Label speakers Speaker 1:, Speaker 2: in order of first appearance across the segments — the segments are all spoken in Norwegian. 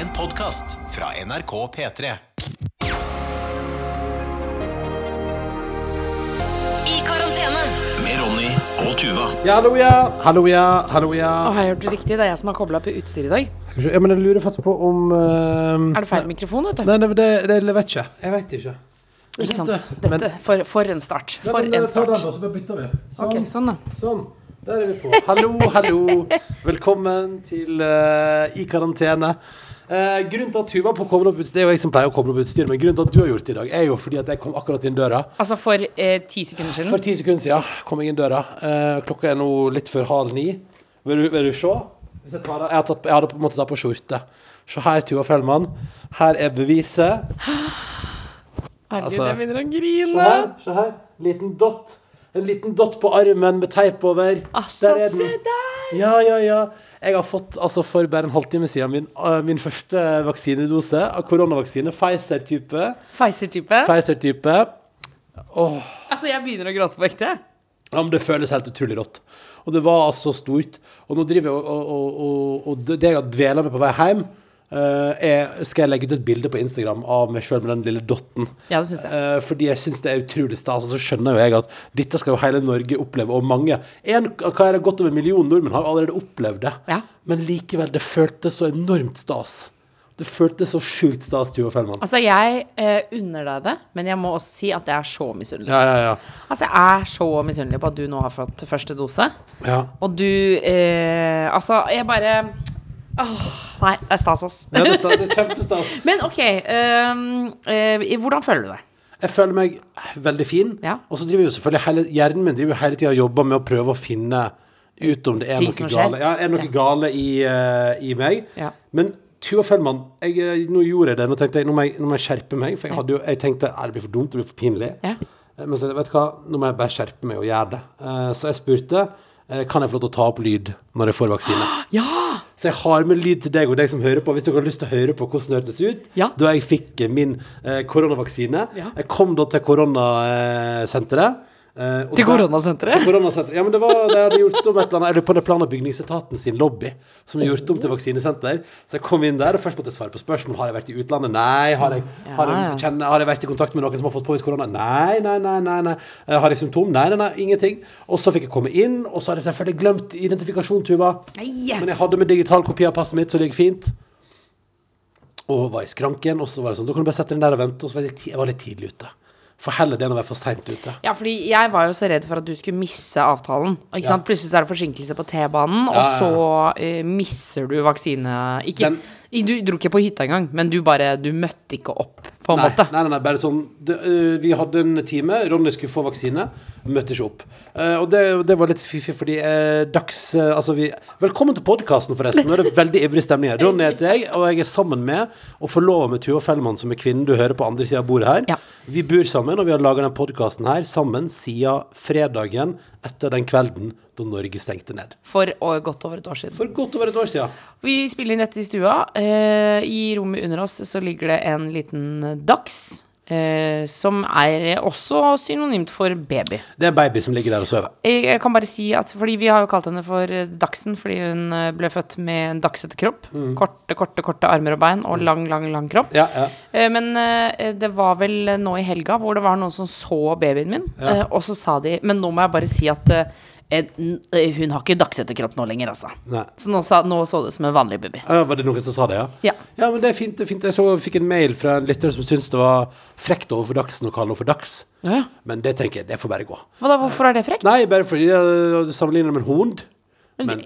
Speaker 1: En podcast fra NRK P3.
Speaker 2: I karantene.
Speaker 1: Med Ronny og Tuva.
Speaker 3: Ja, hallo, ja. Hallo, ja. Hallo, ja.
Speaker 4: Å, har jeg gjort det riktig? Det er jeg som har kobla på utstyret i dag.
Speaker 3: Skal vi se. Ja, men jeg lurer faktisk på om eh,
Speaker 4: Er det feil mikrofon, vet du?
Speaker 3: Nei, nei, det, det, det vet ikke. Jeg vet ikke.
Speaker 4: ikke sant?
Speaker 3: sant det.
Speaker 4: Dette, for, for en start.
Speaker 3: Nei,
Speaker 4: For
Speaker 3: men, eh,
Speaker 4: en
Speaker 3: Ta
Speaker 4: start.
Speaker 3: den, da, så bare bytter vi.
Speaker 4: Ok, sånn da.
Speaker 3: Sånn. Der er vi på. Hallo, hallo. Velkommen til eh, I karantene. Eh, grunnen til at Tuva på kobler opp utstyr, det er jo jeg som pleier å koble opp utstyr, men grunnen til at du har gjort det i dag, er jo fordi at jeg kom akkurat inn døra.
Speaker 4: Altså for eh, ti sekunder
Speaker 3: For
Speaker 4: siden.
Speaker 3: ti sekunder siden kom jeg inn døra. Eh, klokka er nå litt før halv ni. Vil du, vil du se? Hvis jeg, tar av- jeg, har tatt, jeg hadde på en måte tatt på skjorte. Se her, Tuva Fellmann. Her er beviset.
Speaker 4: Herregud,
Speaker 3: altså-
Speaker 4: jeg begynner å
Speaker 3: Se
Speaker 4: grine.
Speaker 3: her. se her. Liten dott. En liten dott på armen med teip over.
Speaker 4: Altså,
Speaker 3: Der er
Speaker 4: se
Speaker 3: den.
Speaker 4: der!
Speaker 3: Ja, ja, ja. Jeg har fått altså, for bare en halvtime siden min, eh, min første vaksinedose av koronavaksine. Pfizer-type.
Speaker 4: Pfizer-type.
Speaker 3: Pfizer-type. Åh.
Speaker 4: Altså, jeg begynner å gråte på ekte.
Speaker 3: Ja, men det føles helt utrolig rått. Og det var altså stort. Og nå driver jeg og, og, og, og, og det- det jeg har dvela med på vei hjem, eh, er Skal jeg legge ut et bilde på Instagram av meg sjøl med den lille dotten?
Speaker 4: Ja, det syns jeg.
Speaker 3: Eh, fordi jeg syns det er utrolig stas. Og så skjønner jo jeg at dette skal jo hele Norge oppleve, og mange. En, hva er det Godt over en million nordmenn har allerede opplevd det.
Speaker 4: Ja.
Speaker 3: Men likevel, det føltes så enormt stas. Det føltes så sjukt stas, Tuva Fellmann.
Speaker 4: Altså, jeg eh, unner deg det, men jeg må også si at jeg er så misunnelig.
Speaker 3: Ja, ja, ja.
Speaker 4: Altså, jeg er så misunnelig på at du nå har fått første dose,
Speaker 3: ja.
Speaker 4: og du eh, Altså, jeg bare Åh, nei, det er stas, ass.
Speaker 3: Det er, sta- det er kjempestas.
Speaker 4: Men OK, ehm, eh, hvordan føler du deg?
Speaker 3: Jeg føler meg veldig fin.
Speaker 4: Ja.
Speaker 3: Og så driver jo selvfølgelig hele, hjernen min driver jo hele tida og jobber med å prøve å finne ut om det er
Speaker 4: Ting
Speaker 3: noe
Speaker 4: som skjer.
Speaker 3: gale, ja, er det noe gale i, eh, i meg.
Speaker 4: Ja.
Speaker 3: Men Tuva Fellmann, jeg, eh, nå gjorde jeg det. Nå tenkte jeg, nå må jeg, nå må jeg skjerpe meg. For jeg, hadde jo, jeg tenkte "Nei, det blir for dumt, det blir for pinlig.
Speaker 4: Ja.
Speaker 3: Eh, Men så, vet du hva, nå må jeg bare skjerpe meg og gjøre det. Eh, så jeg spurte eh, kan jeg få lov til å ta opp lyd når jeg får vaksine.
Speaker 4: Ja!
Speaker 3: Så jeg har med lyd til deg og deg som hører på, hvis dere har lyst til å høre på hvordan det hørtes ut.
Speaker 4: Ja.
Speaker 3: Da jeg fikk eh, min eh, koronavaksine.
Speaker 4: Ja.
Speaker 3: Jeg kom da til koronasenteret. eh, og
Speaker 4: Til
Speaker 3: der-
Speaker 4: koronasenteret?
Speaker 3: Til koronasenteret. Ja, men det var det hadde gjort om et eller annet. Jeg lurer på om det er plan- og bygningsetaten sin lobby som er gjort om til vaksinesenter. Så jeg kom inn der, og først måtte jeg svare på spørsmål. Har jeg vært i utlandet? Nei. Har jeg, har
Speaker 4: Ja, ja.
Speaker 3: jeg, kjenner, har jeg vært i kontakt med noen som har fått påvist korona? Nei, nei, nei. nei, nei. Eh, Har jeg symptom? Nei, nei, nei. Ingenting. Og så fikk jeg komme inn, og så hadde jeg selvfølgelig glemt identifikasjon, Tuva.
Speaker 4: Nei!
Speaker 3: Men jeg hadde med digital kopi av passet mitt, så det gikk fint. Og var i skranken, og så var det sånn, da kan du bare sette den der og vente. Og så var jeg, litt ti- jeg var litt tidlig ute. For heller det enn å være for seint ute.
Speaker 4: Ja, fordi jeg var jo så redd for at du skulle misse avtalen. Og Ikke
Speaker 3: Ja.
Speaker 4: sant? Plutselig så er det forsinkelse på T-banen, og
Speaker 3: Ja, ja, ja.
Speaker 4: så eh, misser du vaksine Ikke
Speaker 3: Den-
Speaker 4: I- Du dro ikke på hytta engang, men du bare Du møtte ikke opp, på en
Speaker 3: Nei,
Speaker 4: måte.
Speaker 3: nei, nei, nei, bare sånn det, ø, Vi hadde en time, Ronny skulle få vaksine, møtte ikke opp. Eh, og det, det var litt fiffig, fordi eh, dags eh, Altså, vi Velkommen til podkasten, forresten. Nå er det veldig ivrig stemning her. Ronny heter jeg, og jeg er sammen med og forlova med Tuva Fellmann, som er kvinnen du hører på andre sida av bordet her.
Speaker 4: Ja.
Speaker 3: Vi bor sammen, og vi har laga denne podkasten her sammen siden fredagen etter den kvelden da Norge stengte ned.
Speaker 4: For å- godt over et år siden.
Speaker 3: For godt over et år siden.
Speaker 4: Vi spiller inn dette i stua. Eh, I rommet under oss så ligger det en liten dachs. Eh, som er også synonymt for baby.
Speaker 3: Det er en baby som ligger der og sover.
Speaker 4: Jeg jeg kan bare si at fordi Vi har jo kalt henne for eh, Dachsen fordi hun eh, ble født med en dagsete kropp. Korte, korte korte armer og bein og lang, lang lang kropp.
Speaker 3: Mm. Ja, ja.
Speaker 4: Eh, Men eh, det var vel nå i helga hvor det var noen som så babyen min, eh, og så sa de Men nå må jeg bare si at eh, eh, n- eh, hun har ikke dagsete kropp nå lenger, altså.
Speaker 3: Nei.
Speaker 4: Så nå, sa, nå så det som en vanlig baby.
Speaker 3: Ja, var det noen som sa det, ja?
Speaker 4: Ja.
Speaker 3: men det er fint. Det er fint. Jeg så, fikk en mail fra en lytter som syntes det var frekt overfor Dagsen å kalle henne for Dags.
Speaker 4: Ja, ja.
Speaker 3: Men det tenker jeg, det får bare gå.
Speaker 4: Hva da, hvorfor er det frekt?
Speaker 3: Nei, bare fordi jeg sammenligner med en hund.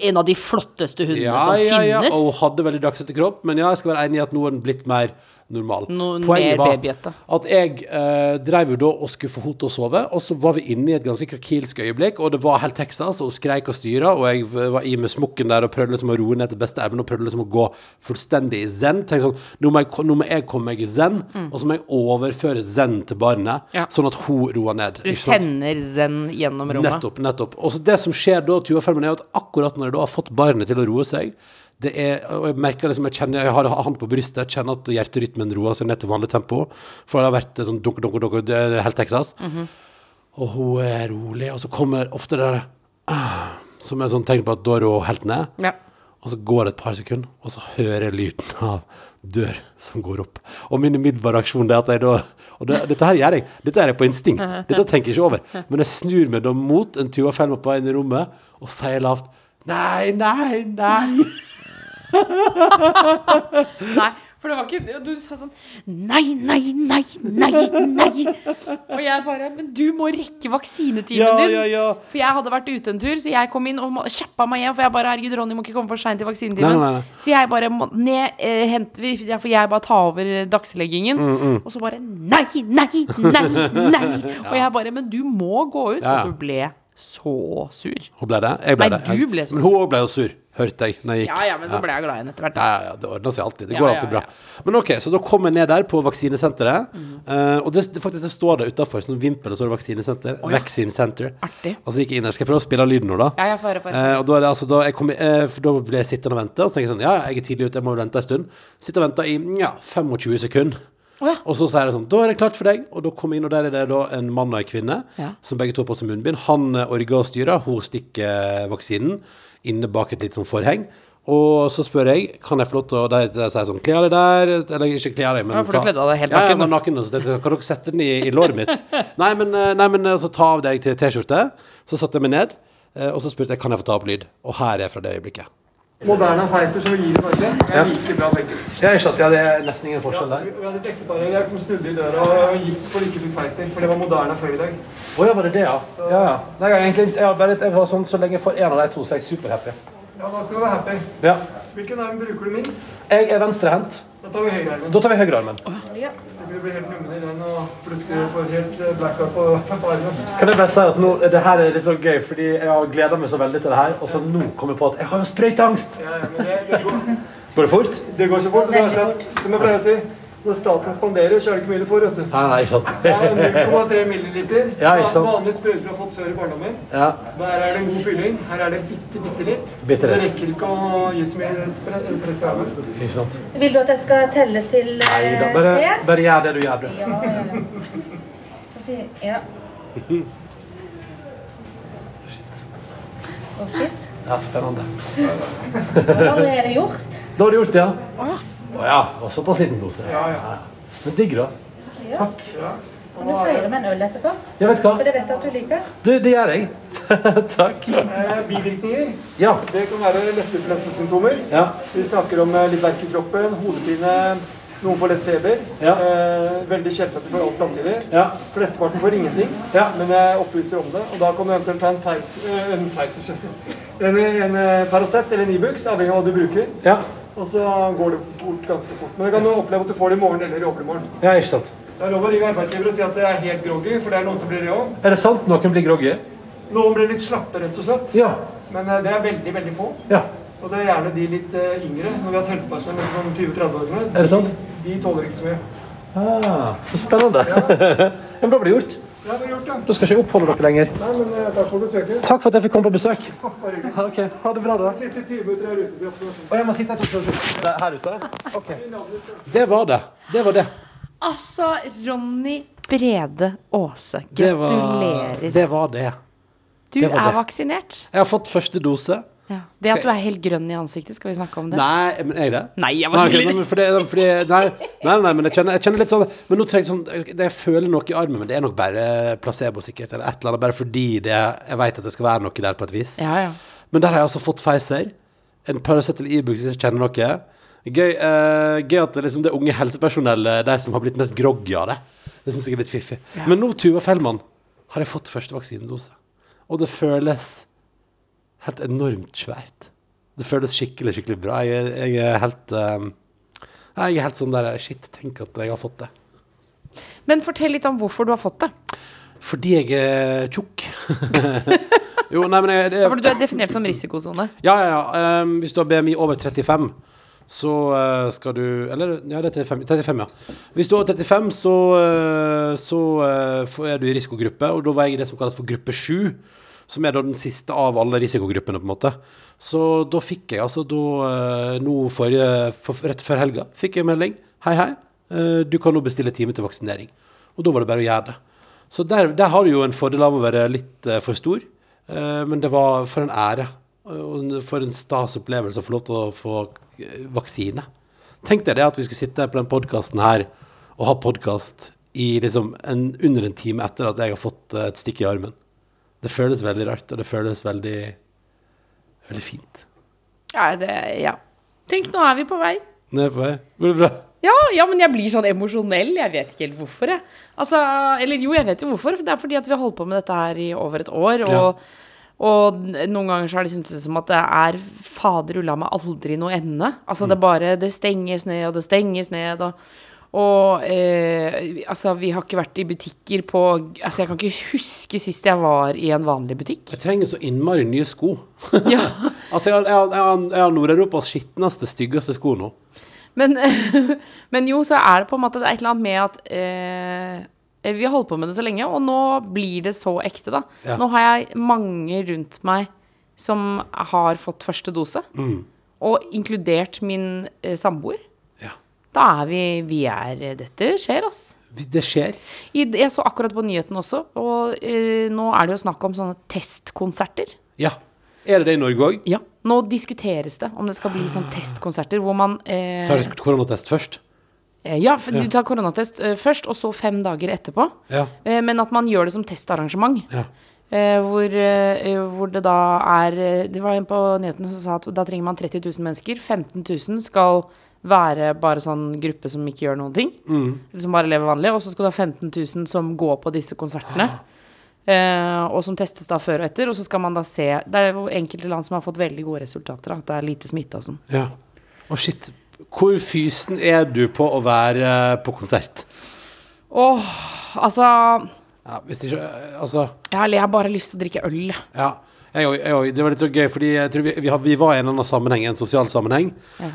Speaker 4: en av de flotteste hundene
Speaker 3: Ja,
Speaker 4: som
Speaker 3: ja, ja,
Speaker 4: finnes.
Speaker 3: og hun hadde veldig dagsete kropp, men ja, jeg skal være enig i at nå er den blitt mer normal.
Speaker 4: Noe mer babyete.
Speaker 3: at jeg eh, drev jo da og skulle få henne til å sove, og så var vi inne i et ganske krakilsk øyeblikk, og det var helt Texas, og hun skreik og styra, og jeg v- var i med smokken der og prøvde liksom å roe ned til beste evne, og prøvde liksom å gå fullstendig i zen. Tenkte sånn, nå må jeg, ko- nå må jeg komme meg i zen, og så må jeg overføre zen til barnet,
Speaker 4: Mm. Ja.
Speaker 3: sånn at hun roer ned.
Speaker 4: Du
Speaker 3: ikke sant?
Speaker 4: sender zen gjennom rommet.
Speaker 3: Nettopp. nettopp. Og så det som skjer da, Tuva Fermen, er at akkurat når jeg da har fått barnet til å roe seg det er, og Jeg merker liksom, jeg kjenner, jeg har hånd på brystet, kjenner at hjerterytmen roer seg ned til vanlig tempo. For det har vært sånn dunk, dunk, dunk, det er helt Texas.
Speaker 4: Mhm.
Speaker 3: Og hun er rolig, og så kommer ofte det der ah, Som er sånn tegn på at da er hun helt ned.
Speaker 4: Ja.
Speaker 3: Og så går det et par sekunder, og så hører jeg lyden av dør som går opp. Og min umiddelbare reaksjon det er at jeg da Og det, dette her gjør jeg. Dette gjør jeg på instinkt. Dette tenker jeg ikke over. Men jeg snur meg da mot en Tuva Fellmer på vei inn i rommet og sier lavt Nei, nei, nei.
Speaker 4: Nei, for det var ikke Du sa sånn Nei, nei, nei, nei, nei. Og jeg bare Men du må rekke vaksinetimen
Speaker 3: Ja,
Speaker 4: din.
Speaker 3: ja, ja.
Speaker 4: For jeg hadde vært ute en tur, så jeg kom inn og må- kjappa meg hjem. For jeg bare Herregud, Ronny må ikke komme for seint til
Speaker 3: Nei,
Speaker 4: vaksinetimen.
Speaker 3: nei, nei.
Speaker 4: Så jeg bare må ned, eh, hent, vi- ja, For jeg bare tar over dagsleggingen.
Speaker 3: Mm,
Speaker 4: Og så bare Nei, nei, nei, nei. Og jeg bare Men du må gå ut.
Speaker 3: Ja, ja.
Speaker 4: Og du ble så sur.
Speaker 3: Hun ble det. Jeg ble
Speaker 4: Nei,
Speaker 3: det.
Speaker 4: du ble så
Speaker 3: Men hun òg ble jo sur, hørte jeg, når jeg gikk.
Speaker 4: Ja ja, men så ble jeg glad igjen etter hvert.
Speaker 3: Ja,
Speaker 4: da.
Speaker 3: ja, ja, det ordner seg alltid. Det
Speaker 4: Ja,
Speaker 3: går
Speaker 4: ja, Mhm.
Speaker 3: alltid bra. Men ok, så da kom jeg ned der på vaksinesenteret. eh, og det, det faktisk det står der utafor, sånn vimpel, og så er det vaksinesenter. Vaccine Center.
Speaker 4: Artig.
Speaker 3: Og så gikk jeg inn der. Skal jeg prøve å spille av lyden nå, da?
Speaker 4: Ja, ja, få høre, få høre.
Speaker 3: Eh, og da, er det, altså, da, jeg kom, i- eh, for da ble jeg sittende og vente, og så tenker jeg sånn Ja, ja, jeg er tidlig ute, jeg må vente en stund. Sitter og venter i ja, 25 sekunder.
Speaker 4: Å ja.
Speaker 3: Og så sier jeg sånn Da er det klart for deg. Og da kom jeg inn, og der er det da en mann og en kvinne
Speaker 4: Ja.
Speaker 3: som begge to har på seg munnbind. Han eh, orger og styrer, hun stikker eh, vaksinen inne bak et litt sånn forheng. Og så spør jeg kan jeg få lov til å De de sier sånn Kle av deg der Eller ikke kle av deg, men
Speaker 4: Ja, for du kledde av deg helt
Speaker 3: ja,
Speaker 4: naken,
Speaker 3: jeg var naken. Og så tenkte jeg kan dere sette den i, i låret mitt? Nei, men, eh, nei, men eh, så ta av deg til T-skjorte. Så satte jeg meg ned, eh, og så spurte jeg kan jeg få ta opp lyd. Og her er jeg fra det øyeblikket.
Speaker 5: Moderna Pfizer som vi gir i Norge, er like bra begge.
Speaker 3: Jeg skjønte ja, det er nesten ingen forskjell
Speaker 5: Vi vi hadde et ektepar i dag som snudde i døra og gikk fordi de ikke fikk Pfizer, for det var Moderna før i dag.
Speaker 3: Å ja, var det det, ja? Ja, ja. Nei, jeg, egentlig, jeg, har bare, jeg var sånn så lenge jeg får en av de to, så er jeg superhappy.
Speaker 5: Ja, da skal du være happy.
Speaker 3: Ja.
Speaker 5: Hvilken arm bruker du minst?
Speaker 3: Jeg er venstrehendt.
Speaker 5: Da tar vi høyrearmen.
Speaker 3: Da tar vi høyrearmen.
Speaker 5: Du blir helt nummen i den og plutselig får helt eh, blackout på på armen.
Speaker 3: Kan jeg bare si at nå, det her er litt så gøy, fordi jeg har gleda meg så veldig til det her, og så nå kom jeg på at jeg har jo sprøyteangst!
Speaker 5: Ja, ja, men det, det, går,
Speaker 3: Går det fort?
Speaker 5: det går så fort. og det er at- Som jeg pleier å si, når staten spanderer, så er det ikke mye du får, vet du.
Speaker 3: Nei, nei, ikke sant.
Speaker 5: Det er 0,3 milliliter.
Speaker 3: Ja, ikke sant.
Speaker 5: Vanlige sprøyter du har fått før i barndommen.
Speaker 3: Ja.
Speaker 5: Der er det en god fylling. Her er det bitte, bitte litt.
Speaker 3: Bitte litt.
Speaker 5: Det rekker ikke å gi så mye spre- press i armen.
Speaker 3: Ikke sant.
Speaker 6: Vil du at jeg skal telle til eh,
Speaker 3: Nei da. Bare,
Speaker 6: tre?
Speaker 3: bare gjør det du gjør, du.
Speaker 6: Ja, ja. Så sier ja. Å, shit.
Speaker 3: Ja, spennende.
Speaker 6: Hva har dere gjort?
Speaker 3: Da har du gjort det, ja? Å ja. Det var såpass liten dose.
Speaker 5: Ja, ja.
Speaker 3: Men digg, da.
Speaker 6: Ja. Kan du føye med en øl etterpå?
Speaker 3: Ja, vet du
Speaker 6: For
Speaker 3: hva?
Speaker 6: det vet jeg at du liker.
Speaker 3: Du, det gjør jeg. Takk.
Speaker 5: Eh, Bivirkninger.
Speaker 3: Ja.
Speaker 5: Det kan være lette influensasymptomer.
Speaker 3: Ja.
Speaker 5: Vi snakker om eh, litt verk i kroppen, hodepine, noen får lett feber.
Speaker 3: Ja.
Speaker 5: Eh, veldig sjelden at du får alt samtidig.
Speaker 3: Ja.
Speaker 5: Flesteparten får ingenting,
Speaker 3: Ja.
Speaker 5: men jeg opplyser om det. Og da kan du eventuelt ta en Pfizer- eh, en Pfizer, en, en eh, Paracet eller en Ibux, avhengig av hva du bruker.
Speaker 3: Ja.
Speaker 5: Og så går det bort ganske fort. Men det kan du oppleve at du får det i morgen eller i overmorgen.
Speaker 3: ja, ikke sant.
Speaker 5: Det er lov å ringe arbeidsgiver og si at det er helt groggy, for det er noen som blir det òg.
Speaker 3: Er det sant noen blir groggy?
Speaker 5: Noen blir litt slappe, rett og slett.
Speaker 3: Ja.
Speaker 5: Men eh, det er veldig, veldig få.
Speaker 3: Ja.
Speaker 5: Og det er gjerne de litt eh, yngre. Når vi har hatt helsepersonell mellom sånn 20-30-årene,
Speaker 3: Er det sant?
Speaker 5: de tåler ikke så mye.
Speaker 3: Ah, så spennende. Ja, Men da blir det gjort.
Speaker 5: Ja, det har vi gjort, ja.
Speaker 3: Da skal ikke jeg oppholde dere lenger.
Speaker 5: Nei, men eh, takk for besøket.
Speaker 3: Takk for at jeg fikk komme på besøk.
Speaker 5: Bare hyggelig.
Speaker 3: Ok, Ha det bra, da.
Speaker 5: Sitte i 20 minutter her ute på observasjon.
Speaker 3: Og jeg må sitte her, to minutter. Der- her ute? Ok. Det var det. Det var det.
Speaker 4: Altså, Ronny Brede Aase,
Speaker 3: Det var-
Speaker 4: gratulerer.
Speaker 3: Det var det.
Speaker 4: du
Speaker 3: det var
Speaker 4: er
Speaker 3: det.
Speaker 4: vaksinert.
Speaker 3: Jeg har fått første dose.
Speaker 4: Ja. Det at du er helt grønn i ansiktet, skal vi snakke om det?
Speaker 3: Nei, men er jeg det?
Speaker 4: Nei, jeg bare
Speaker 3: ok,
Speaker 4: tuller.
Speaker 3: nei, men fordi, nei, fordi, nei, nei, nei, men jeg kjenner, jeg kjenner litt sånn Men nå trenger jeg sånn det- Jeg føler noe i armen, men det er nok bare placebo, sikkert. Eller et eller annet, bare fordi det, jeg vet at det skal være noe der på et vis.
Speaker 4: Ja, ja.
Speaker 3: Men der har jeg altså fått Pfizer. En Paracet eller Ibux, hvis jeg kjenner noe. Gøy, eh, gøy at det, liksom, det unge helsepersonellet de som har blitt mest groggy av det. Det syns jeg er litt fiffig.
Speaker 4: Ja.
Speaker 3: Men nå, Tuva Fellmann, har jeg fått første vaksinedose. Og det føles helt enormt svært. Det føles skikkelig, skikkelig bra. Jeg, er- jeg er helt eh, Jeg er helt sånn der Shit, tenk at jeg har fått det.
Speaker 4: Men fortell litt om hvorfor du har fått det.
Speaker 3: Fordi jeg er tjukk. jo, nei, men jeg, det,
Speaker 4: Ja, Fordi du er definert som risikosone.
Speaker 3: Ja, ja, ja. Ehm, hvis du har BMI over 35, så eh, skal du Eller ja, det er 35, 35 ja. Hvis du er over 35, så, eh, så eh, får- er du i risikogruppe, og da var jeg i det som kalles for gruppe 7. Som er da den siste av alle risikogruppene, på en måte. Så da fikk jeg altså da eh, nå forrige, for, Rett før helga fikk jeg melding. Hei, hei. eh, Du kan nå bestille time til vaksinering. Og da var det bare å gjøre det. Så der, der har du jo en fordel av å være litt eh, for stor. Eh, men det var for en ære
Speaker 7: Og for en stas opplevelse å få lov til å få eh, vaksine. Tenk deg det at vi skulle sitte på den podkasten her og ha podkast i liksom en, under en time etter at jeg har fått eh, et stikk i armen. Det føles veldig rart, og det føles veldig, veldig fint.
Speaker 4: Nei, det Ja. Tenk, nå er vi på vei.
Speaker 7: Nå er jeg på vei. Går det bra?
Speaker 4: Ja, ja, men jeg blir sånn emosjonell. Jeg vet ikke helt hvorfor, jeg. Altså, eller jo, jeg vet jo hvorfor. for Det er fordi at vi har holdt på med dette her i over et år. Og,
Speaker 7: Ja.
Speaker 4: og n- noen ganger så har det syntes ut som at det er fader ulla meg aldri noe ende. Altså, det er bare Det stenges ned, og det stenges ned, og og eh, altså, vi har ikke vært i butikker på Altså, jeg kan ikke huske sist jeg var i en vanlig butikk.
Speaker 7: Jeg trenger så innmari nye sko.
Speaker 4: Ja.
Speaker 7: Altså, jeg har, jeg har, jeg har, jeg har Nord-Europas skitneste, styggeste sko nå.
Speaker 4: Men, men jo, så er det på en måte det er et eller annet med at eh, vi har holdt på med det så lenge, og nå blir det så ekte, da.
Speaker 7: Ja.
Speaker 4: Nå har jeg mange rundt meg som har fått første dose,
Speaker 7: Mm.
Speaker 4: og inkludert min eh, samboer.
Speaker 7: Ja.
Speaker 4: Da er vi Vi er Dette skjer, ass.
Speaker 7: Vi- Det skjer.
Speaker 4: I, jeg så akkurat på nyheten også, og eh, nå er det jo snakk om sånne testkonserter.
Speaker 7: Ja. Er det det i Norge òg?
Speaker 4: Ja. Nå diskuteres det om det skal bli sånn testkonserter hvor man eh,
Speaker 7: Tar et koronatest først?
Speaker 4: Eh, Ja, for du tar koronatest eh, først, og så fem dager etterpå.
Speaker 7: Ja.
Speaker 4: Eh, Men at man gjør det som testarrangement.
Speaker 7: Ja.
Speaker 4: Eh, Hvor, eh, hvor det da er eh, Det var en på nyhetene som sa at da trenger man 30 000 mennesker. 15 000 skal være bare sånn gruppe som ikke gjør noen ting. eller Som bare lever vanlig. Og så skal du ha 15 000 som går på disse konsertene. eh, og som testes da før og etter. Og så skal man da se Det er jo enkelte land som har fått veldig gode resultater. da, At det er lite smitte og sånn.
Speaker 7: ja. Å, shit. Hvor fysen er du på å være eh, på konsert?
Speaker 4: Åh, altså
Speaker 7: Ja, hvis det ikke eh, Altså.
Speaker 4: Jeg har- jeg har bare lyst til å drikke øl, jeg.
Speaker 7: Ja. Jeg, òg, jeg, òg. det var litt så gøy, fordi jeg tror vi, vi, har, vi var i en annen sammenheng, en sosial sammenheng,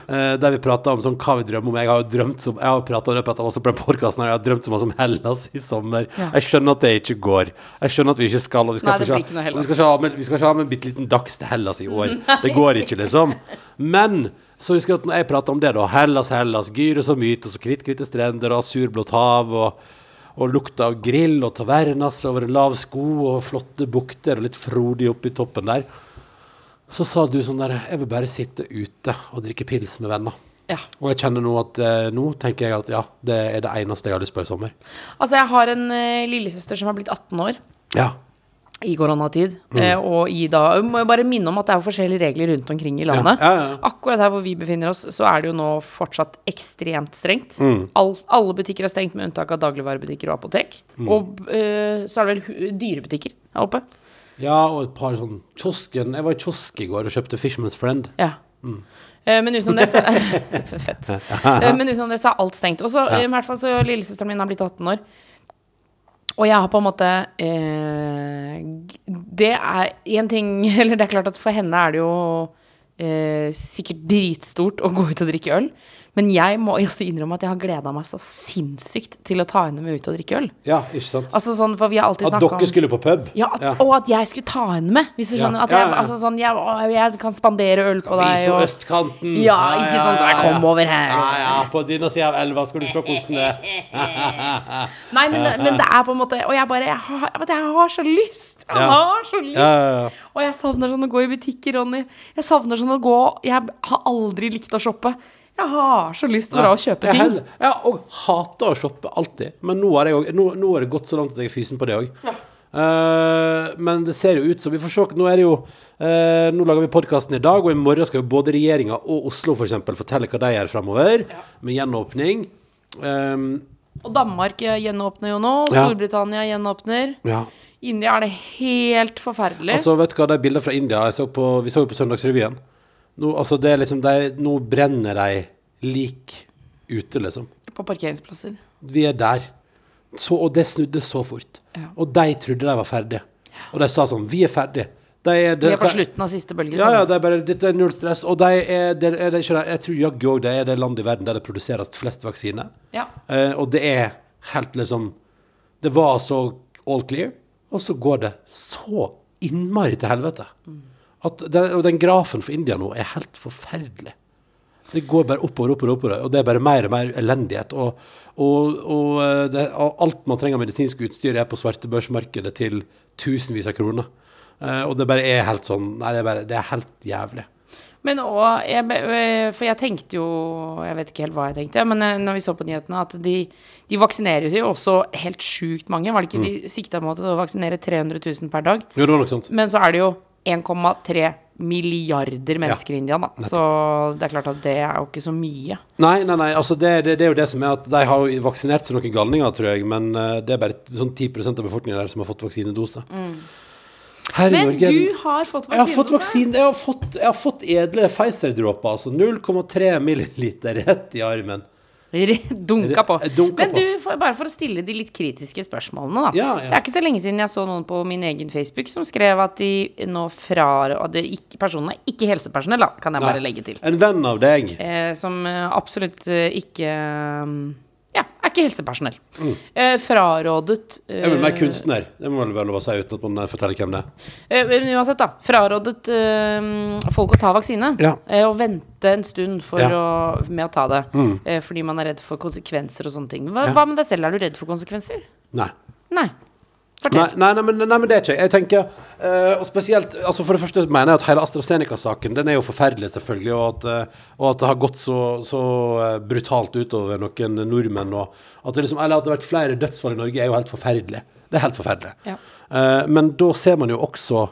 Speaker 7: eh, der vi prata om sånn, hva vi drømmer om. Jeg har jo drømt som Jeg har pratet om det på et- også på den podcasten her, jeg har drømt så mye om Hellas i sommer.
Speaker 4: Ja.
Speaker 7: Jeg skjønner at det ikke går. Jeg skjønner at vi ikke skal, og vi skal,
Speaker 4: Nei, det
Speaker 7: ikke
Speaker 4: blir ikke noe
Speaker 7: ha-
Speaker 4: Hellas.
Speaker 7: vi skal ikke ha med, vi skal ikke ha med en bitte liten dags til Hellas i år. Det går ikke, liksom. Men så husker jeg at når jeg prata om det, da Hellas, Hellas, Gyros og Mytos og kritthvite strender og surblått hav og, og lukta av grill og tavernas over en lav sko og flotte bukter og litt frodig oppi toppen der. Så sa du sånn der Jeg vil bare sitte ute og drikke pils med venner.
Speaker 4: Ja.
Speaker 7: Og jeg kjenner nå at eh, nå tenker jeg at ja, det er det eneste jeg har lyst på i sommer.
Speaker 4: Altså, jeg har en eh, lillesøster som har blitt 18 år
Speaker 7: Ja.
Speaker 4: i koronatid.
Speaker 7: Mm.
Speaker 4: eh, og i da Jeg Må jo bare minne om at det er jo forskjellige regler rundt omkring i landet.
Speaker 7: Ja, ja, ja.
Speaker 4: Akkurat her hvor vi befinner oss, så er det jo nå fortsatt ekstremt strengt.
Speaker 7: Mm.
Speaker 4: All, alle butikker er stengt, med unntak av dagligvarebutikker og apotek.
Speaker 7: Mm.
Speaker 4: Og eh, så er det vel hu- dyrebutikker her oppe.
Speaker 7: Ja, og et par sånn kiosken Jeg var i kiosk i går og kjøpte Fishman's Friend.
Speaker 4: Ja.
Speaker 7: Mm.
Speaker 4: Eh, Men utenom det så Fett. Eh, Men utenom det så er alt stengt. Og så eh, i hvert fall så lillesøsteren min har blitt 18 år. Og jeg har på en måte eh, g- Det er én ting Eller det er klart at for henne er det jo eh, sikkert dritstort å gå ut og drikke øl. Men jeg må også innrømme at jeg har gleda meg så sinnssykt til å ta henne med ut og drikke øl.
Speaker 7: Ja, ikke sant?
Speaker 4: Altså sånn, for vi har alltid
Speaker 7: At
Speaker 4: snakket
Speaker 7: dere skulle på pub?
Speaker 4: ja, at, Og at jeg skulle ta henne med, hvis du
Speaker 7: Ja.
Speaker 4: skjønner. At
Speaker 7: Ja,
Speaker 4: jeg,
Speaker 7: ja, ja.
Speaker 4: Altså, sånn, jeg, å, jeg kan spandere øl på deg.
Speaker 7: Vise
Speaker 4: og-
Speaker 7: østkanten.
Speaker 4: Ja, ikke sant? Jeg kom over her.
Speaker 7: Ja, ja, på denne sida av elva skal du slå kosen ned.
Speaker 4: Nei, men, det- men det er på en måte Og jeg bare Jeg har, jeg vet, jeg har så lyst! Jeg
Speaker 7: Ja.
Speaker 4: har så lyst!
Speaker 7: Ja, ja, ja.
Speaker 4: Og jeg savner sånn å gå i butikker, Ronny. Jeg savner sånn å gå Jeg har aldri likt å shoppe. Jeg har så lyst til å dra og kjøpe
Speaker 7: Jeg
Speaker 4: ting.
Speaker 7: heller- Ja, og hater å shoppe alltid. Men nå har, jeg, jo- nå, nå har det gått så langt at jeg er fysen på det òg. men det ser jo ut som Vi får se. Nå, er det jo, eh, nå lager vi podkasten i dag, og i morgen skal jo både regjeringa og Oslo for eksempel, fortelle hva de gjør framover, med gjenåpning. Ehm,
Speaker 4: Og Danmark eh, gjenåpner jo nå.
Speaker 7: Ja.
Speaker 4: Storbritannia gjenåpner.
Speaker 7: ja.
Speaker 4: India er det helt forferdelig.
Speaker 7: Altså, vet du hva, de bildene fra India jeg så på, Vi så jo på Søndagsrevyen. Nå, altså, det er liksom, de, nå brenner de lik ute, liksom.
Speaker 4: på parkeringsplasser.
Speaker 7: Vi er der. Så, og det snudde så fort.
Speaker 4: Ja.
Speaker 7: Og de trodde de var ferdige. Og de sa sånn Vi er ferdige. De er,
Speaker 4: Vi er på slutten av siste bølge.
Speaker 7: Ja,
Speaker 4: sånn.
Speaker 7: ja, det er bare Dette er null stress. Og de er, det er, det ikke det- Jeg tror jaggu òg det er det landet i verden der det produseres flest vaksiner.
Speaker 4: Ja.
Speaker 7: Eh, og det er helt liksom Det var så all clear, og så går det så innmari til helvete.
Speaker 4: Mm.
Speaker 7: At den, og den grafen for India nå er helt forferdelig. Det går bare oppover, oppover, oppover, og det er bare mer og mer elendighet. Og, og, og, eh, det, og alt man trenger av medisinsk utstyr, er på svartebørsmarkedet til tusenvis av kroner. Eh, og det bare er helt sånn Nei, det er, bare, det er helt jævlig.
Speaker 4: Men òg jeg be- øh, For jeg tenkte jo Jeg vet ikke helt hva jeg tenkte, men øh, når vi så på nyhetene, at de, de vaksineres jo også helt sjukt mange. Var det ikke
Speaker 7: Mm.
Speaker 4: de sikta mot å vaksinere 300 000 per dag?
Speaker 7: Jo, det var noe sånt.
Speaker 4: Men så er det jo 1,3 milliarder mennesker i India, da. Så det er klart at det er jo ikke så mye.
Speaker 7: Nei, nei, nei, altså det, det, det er jo det som er at de har jo vaksinert seg noen galninger, tror jeg, men eh, det er bare sånn 10 av befolkningen der som har fått vaksinedose. Her
Speaker 4: Mm.
Speaker 7: i
Speaker 4: Men
Speaker 7: Norge er det-
Speaker 4: du har fått vaksinedose.
Speaker 7: jeg har fått vaksine, jeg har fått, jeg har fått edle Pfizer-dråper, altså 0,3 milliliter rett i armen.
Speaker 4: Dunka på.
Speaker 7: Jeg eh, dunka
Speaker 4: Men du, for, bare for å stille de litt kritiske spørsmålene, da.
Speaker 7: Ja, ja.
Speaker 4: Det er ikke så lenge siden jeg så noen på min egen Facebook som skrev at de nå frar... Og det ikke, personen er ikke helsepersonell, da, kan jeg bare legge til.
Speaker 7: En venn av deg.
Speaker 4: Eh, som eh, absolutt eh, ikke um, Ja, er ikke helsepersonell. Eh, frarådet eh,
Speaker 7: Mm. Jeg vil være kunstner. Det må vel være lov å si uten at man eh, forteller hvem det er.
Speaker 4: Eh, Men uansett, da. Frarådet eh, folk å ta vaksine.
Speaker 7: Ja.
Speaker 4: eh, og vente en stund for
Speaker 7: Ja. Mm.
Speaker 4: å, med å ta det. eh, fordi man er redd for konsekvenser og sånne ting. Hva,
Speaker 7: Ja.
Speaker 4: hva med deg selv? Er du redd for konsekvenser?
Speaker 7: Nei.
Speaker 4: Nei.
Speaker 7: Nei,
Speaker 4: Fortell.
Speaker 7: nei, nei, men, nei, men det er ikke jeg. Jeg tenker, eh, og spesielt, altså For det første mener jeg at hele AstraZeneca-saken den er jo forferdelig, selvfølgelig. Og at, eh, og at det har gått så, så eh, brutalt utover noen nordmenn. Og at det liksom, eller at det har vært flere dødsfall i Norge, er jo helt forferdelig. Det er helt forferdelig.
Speaker 4: Ja.
Speaker 7: Eh, men da ser man jo også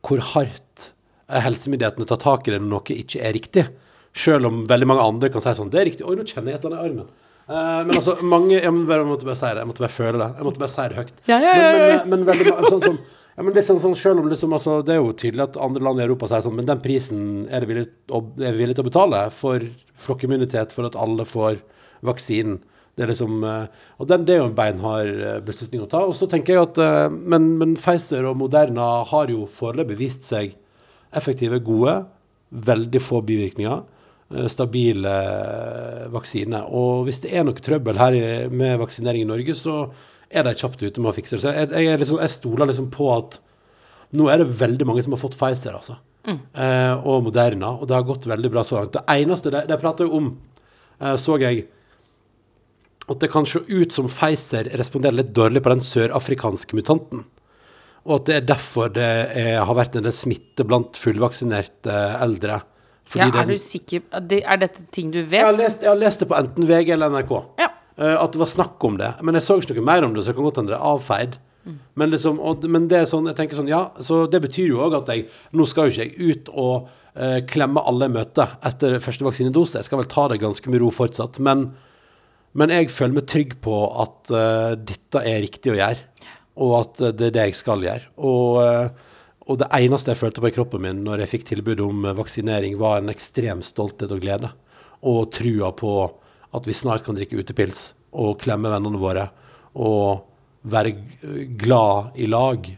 Speaker 7: hvor hardt eh, helsemyndighetene tar tak i det når noe ikke er riktig. Selv om veldig mange andre kan si sånn Det er riktig. Oi, nå kjenner jeg et eller annet i armen. Eh, men altså, mange Jeg må bare- jeg måtte bare si det. Jeg måtte bare føle det. Jeg måtte bare si det høyt.
Speaker 4: Ja, ja, ja,
Speaker 7: Men,
Speaker 4: ja.
Speaker 7: men, eh, men veldig ma- sånn som ja, men det, er sånn, sånn, selv om liksom, altså, det er jo tydelig at andre land i Europa sier sånn, men den prisen er det villig, å- er vi villig til å betale for flokkimmunitet, for at alle får vaksinen. Det er liksom, eh, og den, det er jo en beinhard eh, beslutning å ta. Og så tenker jeg at, eh, men, men Pfizer og Moderna har jo foreløpig vist seg effektive, gode, veldig få bivirkninger, eh, stabile eh, vaksiner. Og hvis det er noe trøbbel her i- med vaksinering i Norge, så er de kjapt ute med å fikse det. Så jeg, jeg, er liksom, jeg stoler liksom på at nå er det veldig mange som har fått Pfizer, altså. Eh, og Moderna. Og det har gått veldig bra så langt. Det eneste de, de prater jo om, eh, så jeg at det kan se ut som Pfizer responderer litt dårlig på den sørafrikanske mutanten. Og at det er derfor det er, har vært en del smitte blant fullvaksinerte eh, eldre.
Speaker 4: Ja, er
Speaker 7: den-
Speaker 4: du sikker det, Er dette ting du vet?
Speaker 7: jeg har, lest, jeg har lest det på enten VG eller NRK.
Speaker 4: Ja.
Speaker 7: Eh, at det var snakk om det. Men jeg så ikke noe mer om det, så det kan godt hende det er avfeid.
Speaker 4: Mm.
Speaker 7: Men, liksom, og, men det er sånn, jeg tenker sånn, ja, så det betyr jo òg at jeg Nå skal jo ikke jeg ut og eh, klemme alle jeg møter etter første vaksinedose. Jeg skal vel ta det ganske med ro fortsatt. Men, men jeg føler meg trygg på at eh, dette er riktig å gjøre, og at eh, det er det jeg skal gjøre. Og, eh, og det eneste jeg følte på i kroppen min når jeg fikk tilbud om eh, vaksinering, var en ekstrem stolthet og glede. Og trua på at vi snart kan drikke utepils og klemme vennene våre. Og være g- eh, glad i lag.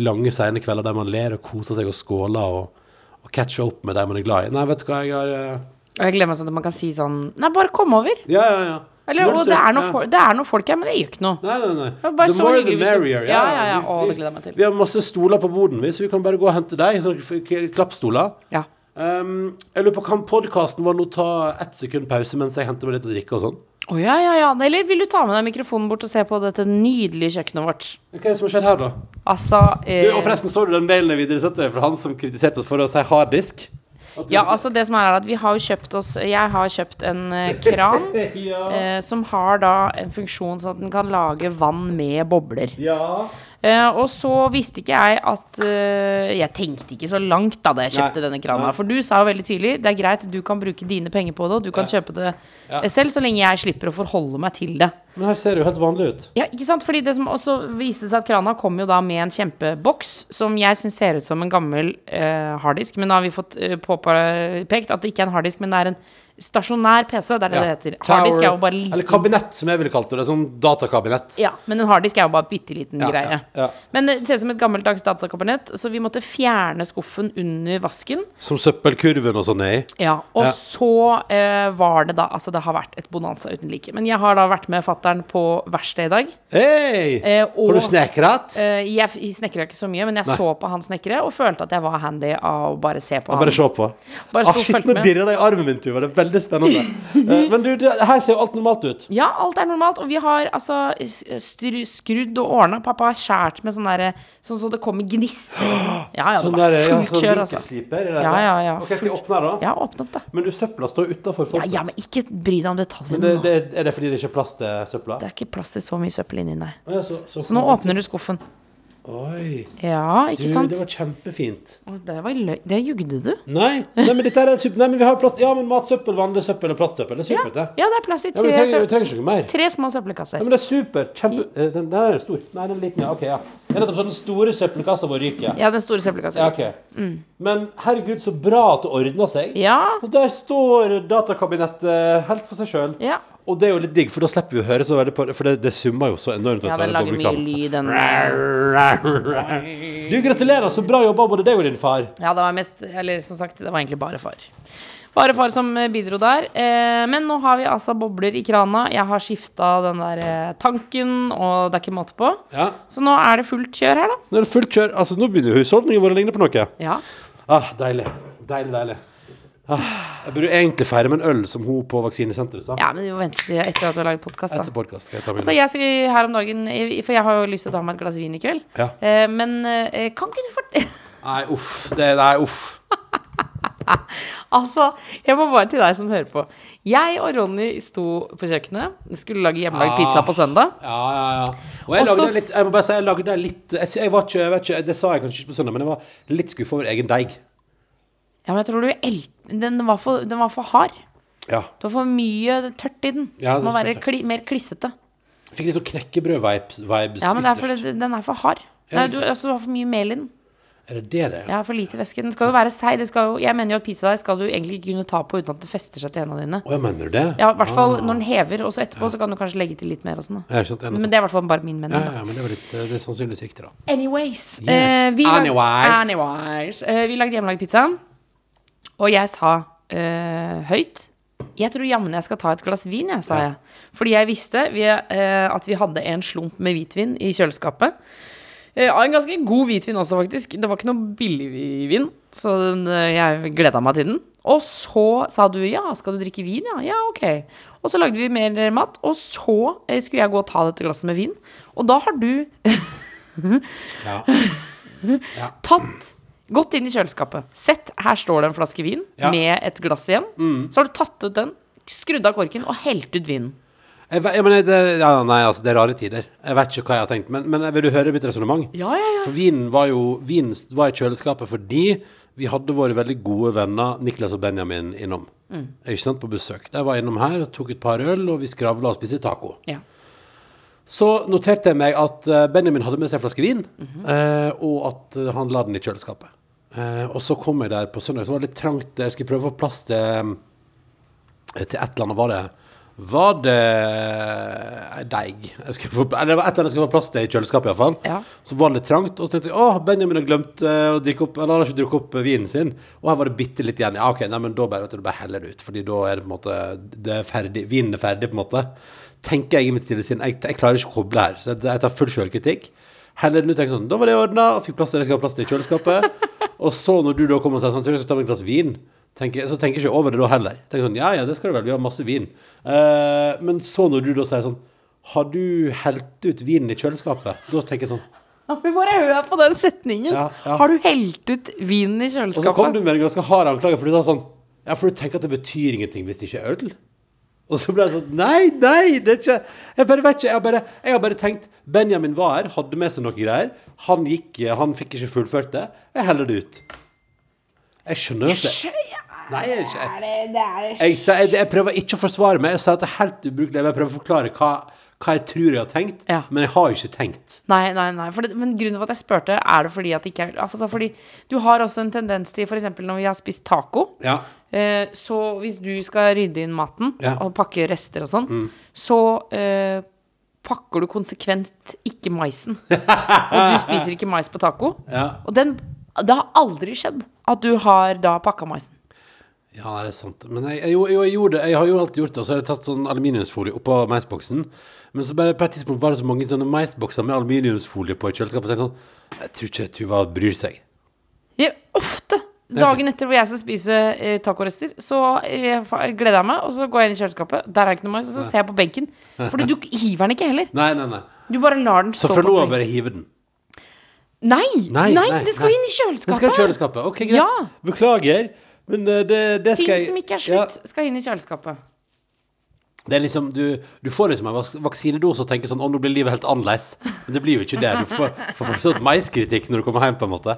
Speaker 7: Lange, sene kvelder der man ler og koser seg og skåler og, og catcher opp med de man er glad i. Nei, vet du hva, jeg har eh,
Speaker 4: Og jeg glemmer sånn at man kan si sånn Nei, bare kom over.
Speaker 7: Ja, ja, ja.
Speaker 4: Eller,
Speaker 7: Når
Speaker 4: og
Speaker 7: du
Speaker 4: det
Speaker 7: ser-
Speaker 4: er, noe
Speaker 7: ja.
Speaker 4: for, det er noe folk her, men det gjør ikke noe.
Speaker 7: Nei, nei, nei.
Speaker 4: var bare
Speaker 7: the
Speaker 4: så
Speaker 7: more the
Speaker 4: hyggelig hvis du-
Speaker 7: merrier.
Speaker 4: Ja, ja, ja. Å, det gleder jeg meg til.
Speaker 7: Vi har masse stoler på boden, vi, så vi kan bare gå og hente deg. sånn Sånne f- k- klappstoler.
Speaker 4: Ja.
Speaker 7: Um, jeg lurer på, kan podkasten vår nå ta ett sekund pause mens jeg henter meg litt å drikke og sånn?
Speaker 4: Å ja, ja, ja. Eller vil du ta med deg mikrofonen bort og se på dette nydelige kjøkkenet vårt?
Speaker 7: Hva er det som har skjedd her, da?
Speaker 4: Altså eh,
Speaker 7: Du, og forresten, så du den mailen jeg videresendte deg fra han som kritiserte oss for å si harddisk? At du-
Speaker 4: Ja, altså det som er, er at vi har jo kjøpt oss Jeg har kjøpt en eh, kran eh, som har da en funksjon sånn at den kan lage vann med bobler.
Speaker 7: ja.
Speaker 4: Eh, og så visste ikke jeg at eh, Jeg tenkte ikke så langt da da jeg kjøpte
Speaker 7: Nei.
Speaker 4: denne krana.
Speaker 7: Nei.
Speaker 4: For du sa jo veldig tydelig det er greit, du kan bruke dine penger på det, og du kan kjøpe det eh, selv, så lenge jeg slipper å forholde meg til det.
Speaker 7: Men her ser det jo helt vanlig ut.
Speaker 4: Ja, ikke sant? Fordi det som også viste seg at krana kom jo da med en kjempeboks, som jeg syns ser ut som en gammel eh, harddisk. Men da har vi fått eh, påpekt at det ikke er en harddisk, men det er en stasjonær PC. Det er det det heter.
Speaker 7: Tower-
Speaker 4: Harddisk er jo bare
Speaker 7: Eller
Speaker 4: liten.
Speaker 7: kabinett, som jeg ville kalt det. det er sånn datakabinett.
Speaker 4: Ja, men en harddisk er jo bare bitte liten
Speaker 7: Ja,
Speaker 4: greie.
Speaker 7: ja, ja.
Speaker 4: Men det ser ut som et gammeldags datakabinett, så vi måtte fjerne skuffen under vasken.
Speaker 7: Som søppelkurven og sånn er i.
Speaker 4: Ja, og
Speaker 7: Ja.
Speaker 4: så eh, var det da Altså, det har vært et bonanza uten like. Men jeg har da vært med fattern på verksted i dag.
Speaker 7: Hei!
Speaker 4: Eh, og-
Speaker 7: har du snekret?
Speaker 4: Eh, jeg jeg snekra ikke så mye, men jeg
Speaker 7: Nei.
Speaker 4: så på han snekre og følte at jeg var handy av å bare se på
Speaker 7: Ja,
Speaker 4: han.
Speaker 7: bare se på.
Speaker 4: Bare
Speaker 7: Ah,
Speaker 4: stå og
Speaker 7: shit,
Speaker 4: følge
Speaker 7: nå
Speaker 4: med.
Speaker 7: dirrer det i armen min, Tuva. Det er veldig spennende. Eh, Men du, det, her ser jo alt normalt ut.
Speaker 4: Ja, alt er normalt. Og vi har altså s- stru- skrudd og ordna. Pappa har skjært med sånn derre Sånn så det kommer gnister. og sånn. Ja, ja, det
Speaker 7: Sånn
Speaker 4: var
Speaker 7: der, ja,
Speaker 4: fullt
Speaker 7: sånn
Speaker 4: kjør, altså.
Speaker 7: vinkelsliper, er det
Speaker 4: Ja,
Speaker 7: det?
Speaker 4: ja, ja.
Speaker 7: Ok, skal jeg åpne her, da?
Speaker 4: Ja, åpne opp, da.
Speaker 7: Men du, søpla står
Speaker 4: Ja,
Speaker 7: utafor fortsatt.
Speaker 4: ja, men ikke bry deg om detaljene.
Speaker 7: Men det,
Speaker 4: nå.
Speaker 7: det, er det fordi det ikke er plass til søpla?
Speaker 4: Det er ikke plass til så mye søppel inni, nei.
Speaker 7: Å ja, så, så,
Speaker 4: Så nå åpner du skuffen.
Speaker 7: Oi.
Speaker 4: Ja,
Speaker 7: Du,
Speaker 4: ikke sant?
Speaker 7: det var kjempefint.
Speaker 4: Å, Det var løy... Det jugde du.
Speaker 7: Nei, nei men dette er super... Nei, men vi har plass Ja, men matsøppel, vanlig søppel og plastsøppel. Det er
Speaker 4: Ja,
Speaker 7: supert, det.
Speaker 4: ja, det er plass i
Speaker 7: Ja, men
Speaker 4: tre,
Speaker 7: vi trenger, vi
Speaker 4: sø-
Speaker 7: trenger ikke noe mer.
Speaker 4: tre små
Speaker 7: Nei,
Speaker 4: søppelkasser.
Speaker 7: men det er supert. Kjempe... eh, Den, den er stor. Nei, den er liten, ja. Ok, ja. Det er nettopp sånn den store søppelkassa vår ryker.
Speaker 4: Ja, Mm. den store søppelkassa.
Speaker 7: Ja, ok. Men herregud, så bra at det ordna seg.
Speaker 4: Ja.
Speaker 7: Og Der står datakabinettet helt for seg sjøl.
Speaker 4: Ja.
Speaker 7: Og det er jo litt digg, for da slipper vi å høre så veldig på det, for det, det summer jo så enormt.
Speaker 4: Ja,
Speaker 7: at det
Speaker 4: den
Speaker 7: er
Speaker 4: lager mye
Speaker 7: bobleklapp.
Speaker 4: lyd, den.
Speaker 7: Du, gratulerer. Så bra jobba, både deg og din far.
Speaker 4: Ja, det var mest Eller som sagt, det var egentlig bare far. Bare far som eh, bidro der. Eh, men nå har vi altså bobler i krana. Jeg har skifta den der eh, tanken, og det er ikke måte på.
Speaker 7: Ja.
Speaker 4: Så nå er det fullt kjør her, da.
Speaker 7: Nå er det fullt kjør. Altså, nå begynner husholdningen vår å ligne på noe.
Speaker 4: Ja.
Speaker 7: Ah, deilig. Deilig, deilig. Ah, jeg burde egentlig feire med en øl som hun på vaksinesenteret sa.
Speaker 4: ja, men vi må vente til etter at du har laget podkast,
Speaker 7: Etter
Speaker 4: da.
Speaker 7: podkast skal jeg ta min.
Speaker 4: Så jeg skal her om dagen eh, For jeg har jo lyst til å ta meg et glass vin i kveld.
Speaker 7: Ja.
Speaker 4: Eh, men eh, kan ikke du fort...
Speaker 7: Nei, uff. Det, nei, uff.
Speaker 4: Altså, jeg må bare til deg som hører på. Jeg og Ronny sto på kjøkkenet. Skulle lage
Speaker 7: Ah.
Speaker 4: hjemmelagd pizza på søndag.
Speaker 7: Ja, ja, ja. Og jeg
Speaker 4: Og så
Speaker 7: lagde litt Jeg må bare si, jeg lagde litt Jeg, sy- jeg var ikke, jeg vet ikke, det sa jeg kanskje ikke på søndag, men jeg var litt skuffa over egen deig.
Speaker 4: Ja, men jeg tror du el... Den var for, den var for hard.
Speaker 7: Ja.
Speaker 4: Du har for mye tørt i den.
Speaker 7: Ja,
Speaker 4: det må
Speaker 7: det
Speaker 4: være
Speaker 7: spørs
Speaker 4: kli, mer klissete.
Speaker 7: Fikk litt sånn knekkebrød-vibes. vibes
Speaker 4: Ja, men det er
Speaker 7: ytterst.
Speaker 4: fordi den er for hard. Nei, du,
Speaker 7: riktig.
Speaker 4: altså, du har for mye mel i den.
Speaker 7: Er det det det er?
Speaker 4: Ja, for lite væske. Den skal jo være seig. det skal jo- Jeg mener jo at pizzadeig skal du egentlig ikke kunne ta på uten at det fester seg til hendene dine.
Speaker 7: Å, jeg mener du det?
Speaker 4: Ja, i hvert fall når den hever, og så etterpå så kan du kanskje legge til litt mer og sånn. da.
Speaker 7: Ah. Ja, ikke sant? Jeg er
Speaker 4: Men
Speaker 7: nettopp-
Speaker 4: det er i hvert fall bare min mening.
Speaker 7: ja,
Speaker 4: da.
Speaker 7: ja, men det var litt eh, Det er sannsynligvis riktig, da.
Speaker 4: Anyways.
Speaker 7: Yes.
Speaker 4: eh, vi lag-
Speaker 7: Anyways.
Speaker 4: Anyways. Eh, vi lagde hjemmelagd pizza, og jeg sa eh, høyt Jeg tror jammen jeg skal ta et glass vin, jeg, sa jeg. Fordi jeg visste vi, eh, at vi hadde en slump med hvitvin i kjøleskapet. Eh, av en ganske god hvitvin også, faktisk. Det var ikke noe billig vin, så den, eh, jeg gleda meg til den. Og så sa du ja, skal du drikke vin? Ja, ja, ok. Og så lagde vi mer eh, mat, og så eh, skulle jeg gå og ta dette glasset med vin. Og da har du
Speaker 7: Ja.
Speaker 4: tatt Gått inn i kjøleskapet. Sett, her står det en flaske vin
Speaker 7: Ja. Mm.
Speaker 4: med et glass igjen. Så har du tatt ut den, skrudd av korken og helt ut vinen.
Speaker 7: Jeg, ve- jeg mener, det, ja, nei, altså, det er rare tider. Jeg vet ikke hva jeg har tenkt. Men, men vil du høre mitt resonnement?
Speaker 4: Ja, ja, ja.
Speaker 7: For vinen var jo vinen var i kjøleskapet fordi vi hadde våre veldig gode venner Niklas og Benjamin innom.
Speaker 4: Mm.
Speaker 7: Ikke sant, På besøk. De var innom her og tok et par øl, og vi skravla og spiste taco.
Speaker 4: Ja.
Speaker 7: Så noterte jeg meg at eh, Benjamin hadde med seg en flaske vin, eh, og at eh, han la den i kjøleskapet. Eh, og så kom jeg der på søndag, så var det litt trangt. Jeg skulle prøve å få plass til, eh, til et eller annet. Var det Var det ei deig? Jeg skulle få- Eller det var et eller annet jeg skulle få plass til i kjøleskapet, iallfall.
Speaker 4: Ja.
Speaker 7: Så var det litt trangt. Og så tenkte jeg åh, Benjamin har glemt eh, å drikke opp Eller han har ikke drukket opp eh, vinen sin. Og her var det bitte litt igjen. Ja, OK, nei, men da bare, vet du, bare heller det ut. Fordi da er det på en måte det er ferdig, Vinen er ferdig, på en måte. Tenker jeg i mitt stille sinn. Jeg, jeg klarer ikke å koble her. Så jeg, jeg tar full sjølkritikk. Heller den ut tenker sånn Da var det ordna, og fikk plass til det jeg skal ha plass til i kjøleskapet. og så, når du da kommer og sier sånn, tror jeg skal ta meg et glass vin, tenker, så tenker jeg ikke over det da heller. Tenker sånn, ja, ja, det skal du vel, vi har masse vin. Eh, men så, når du da sier sånn har du helt ut vinen i kjøleskapet? Da tenker jeg sånn
Speaker 4: Men bare hør på den setningen.
Speaker 7: Ja, ja.
Speaker 4: Har du helt ut vinen i
Speaker 7: Og så kom du
Speaker 4: kjøleskapet?
Speaker 7: med en ganske hard anklage, for du sa sånn Ja, for du tenker at det betyr ingenting hvis det ikke er øl? Og så ble jeg sånn Nei, nei, det er ikke Jeg bare vet ikke. Jeg har bare, jeg har bare tenkt Benjamin var her, hadde med seg noe greier. Han gikk eh, Han fikk ikke fullført det. Jeg heller det ut. Jeg skjønner jo ikke Nei, jeg, er ikke, jeg, jeg, sier- jeg, jeg prøver ikke å forsvare meg. Jeg sier at det er helt ubrukelig. Jeg prøver å forklare hva, hva jeg tror jeg har tenkt,
Speaker 4: Ja.
Speaker 7: men jeg har jo ikke tenkt.
Speaker 4: Nei, nei, nei. For det, men grunnen til at jeg spurte, er det fordi at det ikke er altså, Fordi du har også en tendens til, f.eks. når vi har spist taco
Speaker 7: Ja.
Speaker 4: eh, Så hvis du skal rydde inn maten
Speaker 7: Ja. Mm.
Speaker 4: og pakke rester og sånn, så eh, pakker du konsekvent ikke maisen. Og du spiser ikke mais på taco.
Speaker 7: Ja,
Speaker 4: Og den, det har aldri skjedd at du har da pakka maisen.
Speaker 7: Ja, nei, det er sant. Men jeg, jeg, jo, jo, jeg gjorde det. Jeg har jo alltid gjort det. Og så har jeg tatt sånn aluminiumsfolie oppå meisboksen. Men så bare på et tidspunkt var det så mange sånne meisbokser med aluminiumsfolie på i kjøleskapet. Så jeg tenkte sånn Jeg tror ikke Tuva bryr seg.
Speaker 4: Jeg, ofte Dagen etter hvor jeg skal spise eh, tacorester, så eh, fa- gleder jeg meg. Og så går jeg inn i kjøleskapet, der er ikke noe mais, og så ser jeg på benken. Fordi du hiver den ikke heller.
Speaker 7: Nei, nei, nei.
Speaker 4: Du bare lar den
Speaker 7: Så
Speaker 4: stå
Speaker 7: fra
Speaker 4: på
Speaker 7: nå av
Speaker 4: benken.
Speaker 7: bare hive den?
Speaker 4: Nei, nei, det skal inn i
Speaker 7: Den skal
Speaker 4: kjøleskapet.
Speaker 7: i kjøleskapet. Ok, greit.
Speaker 4: Ja.
Speaker 7: Beklager. Men eh, det, det skal
Speaker 4: Ting
Speaker 7: jeg-
Speaker 4: som ikke er
Speaker 7: Ja.
Speaker 4: slutt, skal inn i kjøleskapet.
Speaker 7: Det er liksom, du, du får liksom en vaks- vaksinedose og tenker sånn 'Å, nå blir livet helt annerledes'. Men det blir jo ikke det. Du får, får fortsatt maiskritikk når du kommer hjem, på en måte.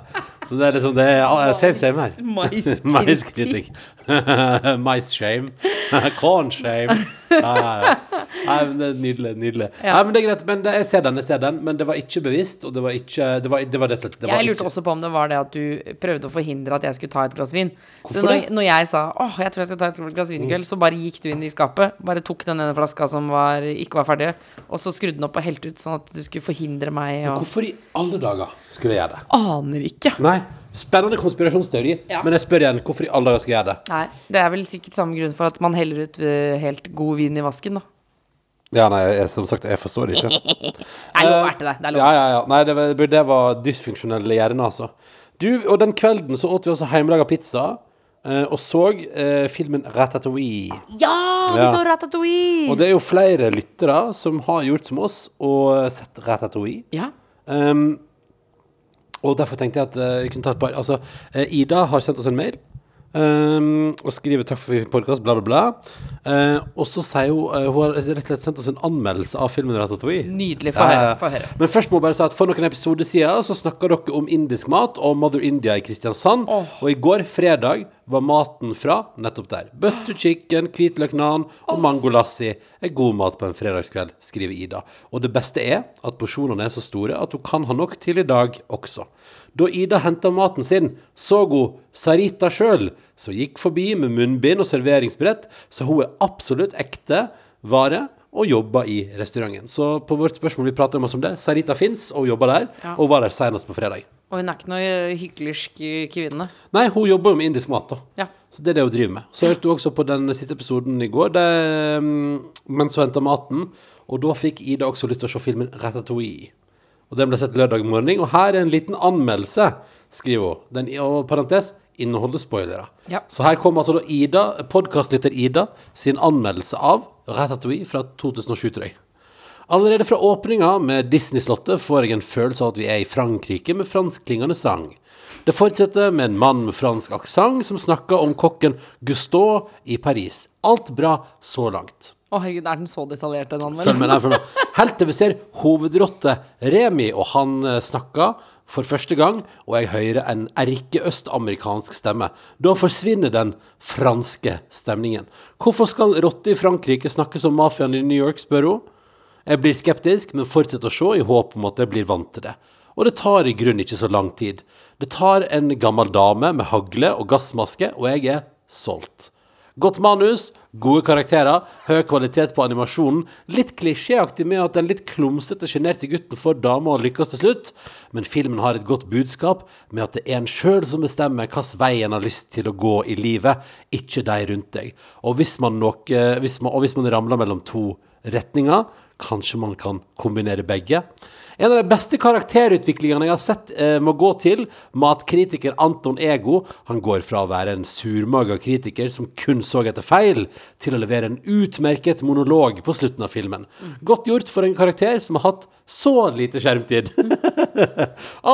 Speaker 7: Så det er liksom det er, ah, Same, same her.
Speaker 4: Maiskritikk.
Speaker 7: Maiskritikk. Mais-shame. Corn-shame. Ja, ja, ja. Nei, men det er nydelig. Nydelig.
Speaker 4: Ja.
Speaker 7: Nei, men det er greit. Men det, jeg ser den, jeg ser den. Men det var ikke bevisst, og det var ikke Det var, det var det slett det var
Speaker 4: Jeg lurte
Speaker 7: ikke-
Speaker 4: også på om det var det at du prøvde å forhindre at jeg skulle ta et glass vin.
Speaker 7: Hvorfor
Speaker 4: så når,
Speaker 7: det? Mm.
Speaker 4: når jeg sa åh, jeg tror jeg skal ta et glass vin i kveld, så bare gikk du inn i skapet, bare tok den ene flaska som var, ikke var ferdig, og så skrudde den opp og helte ut, sånn at du skulle forhindre meg og
Speaker 7: Hvorfor i alle dager skulle jeg gjøre det?
Speaker 4: Aner ikke.
Speaker 7: Nei. Spennende konspirasjonsteori,
Speaker 4: Ja.
Speaker 7: men jeg spør igjen, hvorfor i alle dager skal jeg gjøre det?
Speaker 4: Nei, det er vel sikkert samme grunn for at man heller ut eh, helt god vin i vasken, da.
Speaker 7: Ja, nei, jeg, som sagt, jeg forstår det ikke.
Speaker 4: Det er lov å erte deg. Det er lov.
Speaker 7: Eh, Ja, ja, ja. Nei, det, var- det var dysfunksjonell hjerne, altså. Du, og den kvelden så åt vi også hjemmelaga pizza, eh, og så eh, filmen Ratatouille.
Speaker 4: Ja, vi
Speaker 7: Ja.
Speaker 4: så Ratatouille!
Speaker 7: Og det er jo flere lyttere som har gjort som oss og sett Ratatouille.
Speaker 4: Ja.
Speaker 7: Um, og derfor tenkte jeg at eh, vi kunne ta et par Altså, eh, Ida har sendt oss en mail. Um, og skriver 'takk for podkast', bla, bla, bla. Eh, og så sier hun eh, Hun har rett og slett sendt oss en anmeldelse av filmen Ratatouille. Eh,
Speaker 4: Nydelig. Få høre. Få høre.
Speaker 7: Men først må jeg bare si at for noen episoder siden så snakka dere om indisk mat og Mother India i Kristiansand.
Speaker 4: Åh.
Speaker 7: Og i går, fredag, var maten fra nettopp der. Butter chicken, hvitløk naan og mangolassi er god mat på en fredagskveld, skriver Ida. Og det beste er at porsjonene er så store at hun kan ha nok til i dag også. Da Ida henta maten sin, så hun Sarita sjøl, som gikk forbi med munnbind og serveringsbrett, så hun er absolutt ekte vare og jobba i restauranten. Så på vårt spørsmål vi prater om oss om det, Sarita fins og jobber der,
Speaker 4: Ja.
Speaker 7: og var der senest på fredag.
Speaker 4: Og hun er ikke noe eh, hyklersk kvinne.
Speaker 7: Nei, hun jobber jo med indisk mat, da.
Speaker 4: Ja.
Speaker 7: Så det er det hun driver med. Så hørte hun også på den siste episoden i går, det, mm, mens hun henta maten, og da fikk Ida også lyst til å se filmen Ratatouille. Og den ble sett lørdag morgen, og her er en liten anmeldelse, skriver hun. Den, og parentes inneholder spoilere.
Speaker 4: Ja.
Speaker 7: Så her kommer altså da Ida, podkastlytter Ida, sin anmeldelse av Ratatouille fra 2007, tror jeg. Allerede fra åpninga med Disney-slottet får jeg en følelse av at vi er i Frankrike med franskklingende sang. Det fortsetter med en mann med fransk aksent som snakker om kokken Gustaud i Paris. Alt bra så langt.
Speaker 4: Å herregud, er den så detaljert, den
Speaker 7: Følg
Speaker 4: anmeldelsen?
Speaker 7: med der for nå. Helt til vi ser hovedrotte Remi, og han eh, snakker for første gang, og jeg hører en erkeøstamerikansk stemme. Da forsvinner den franske stemningen. Hvorfor skal rotte i Frankrike snakke som mafiaen i New York, spør hun. Jeg blir skeptisk, men fortsetter å se i håp om at jeg blir vant til det. Og det tar i grunnen ikke så lang tid. Det tar en gammel dame med hagle og gassmaske, og jeg er solgt. Godt manus, gode karakterer, høy kvalitet på animasjonen, litt klisjéaktig med at den litt klumsete, sjenerte gutten får dama og lykkes til slutt, men filmen har et godt budskap med at det er en sjøl som bestemmer hvilken vei en har lyst til å gå i livet, ikke de rundt deg. Og hvis man, nok, eh, hvis man, og hvis man ramler mellom to retninger. Kanskje man kan kombinere begge. En av de beste karakterutviklingene jeg har sett, eh, må gå til matkritiker Anton Ego. Han går fra å være en surmaga kritiker som kun så etter feil, til å levere en utmerket monolog på slutten av filmen. Godt gjort for en karakter som har hatt så lite skjermtid.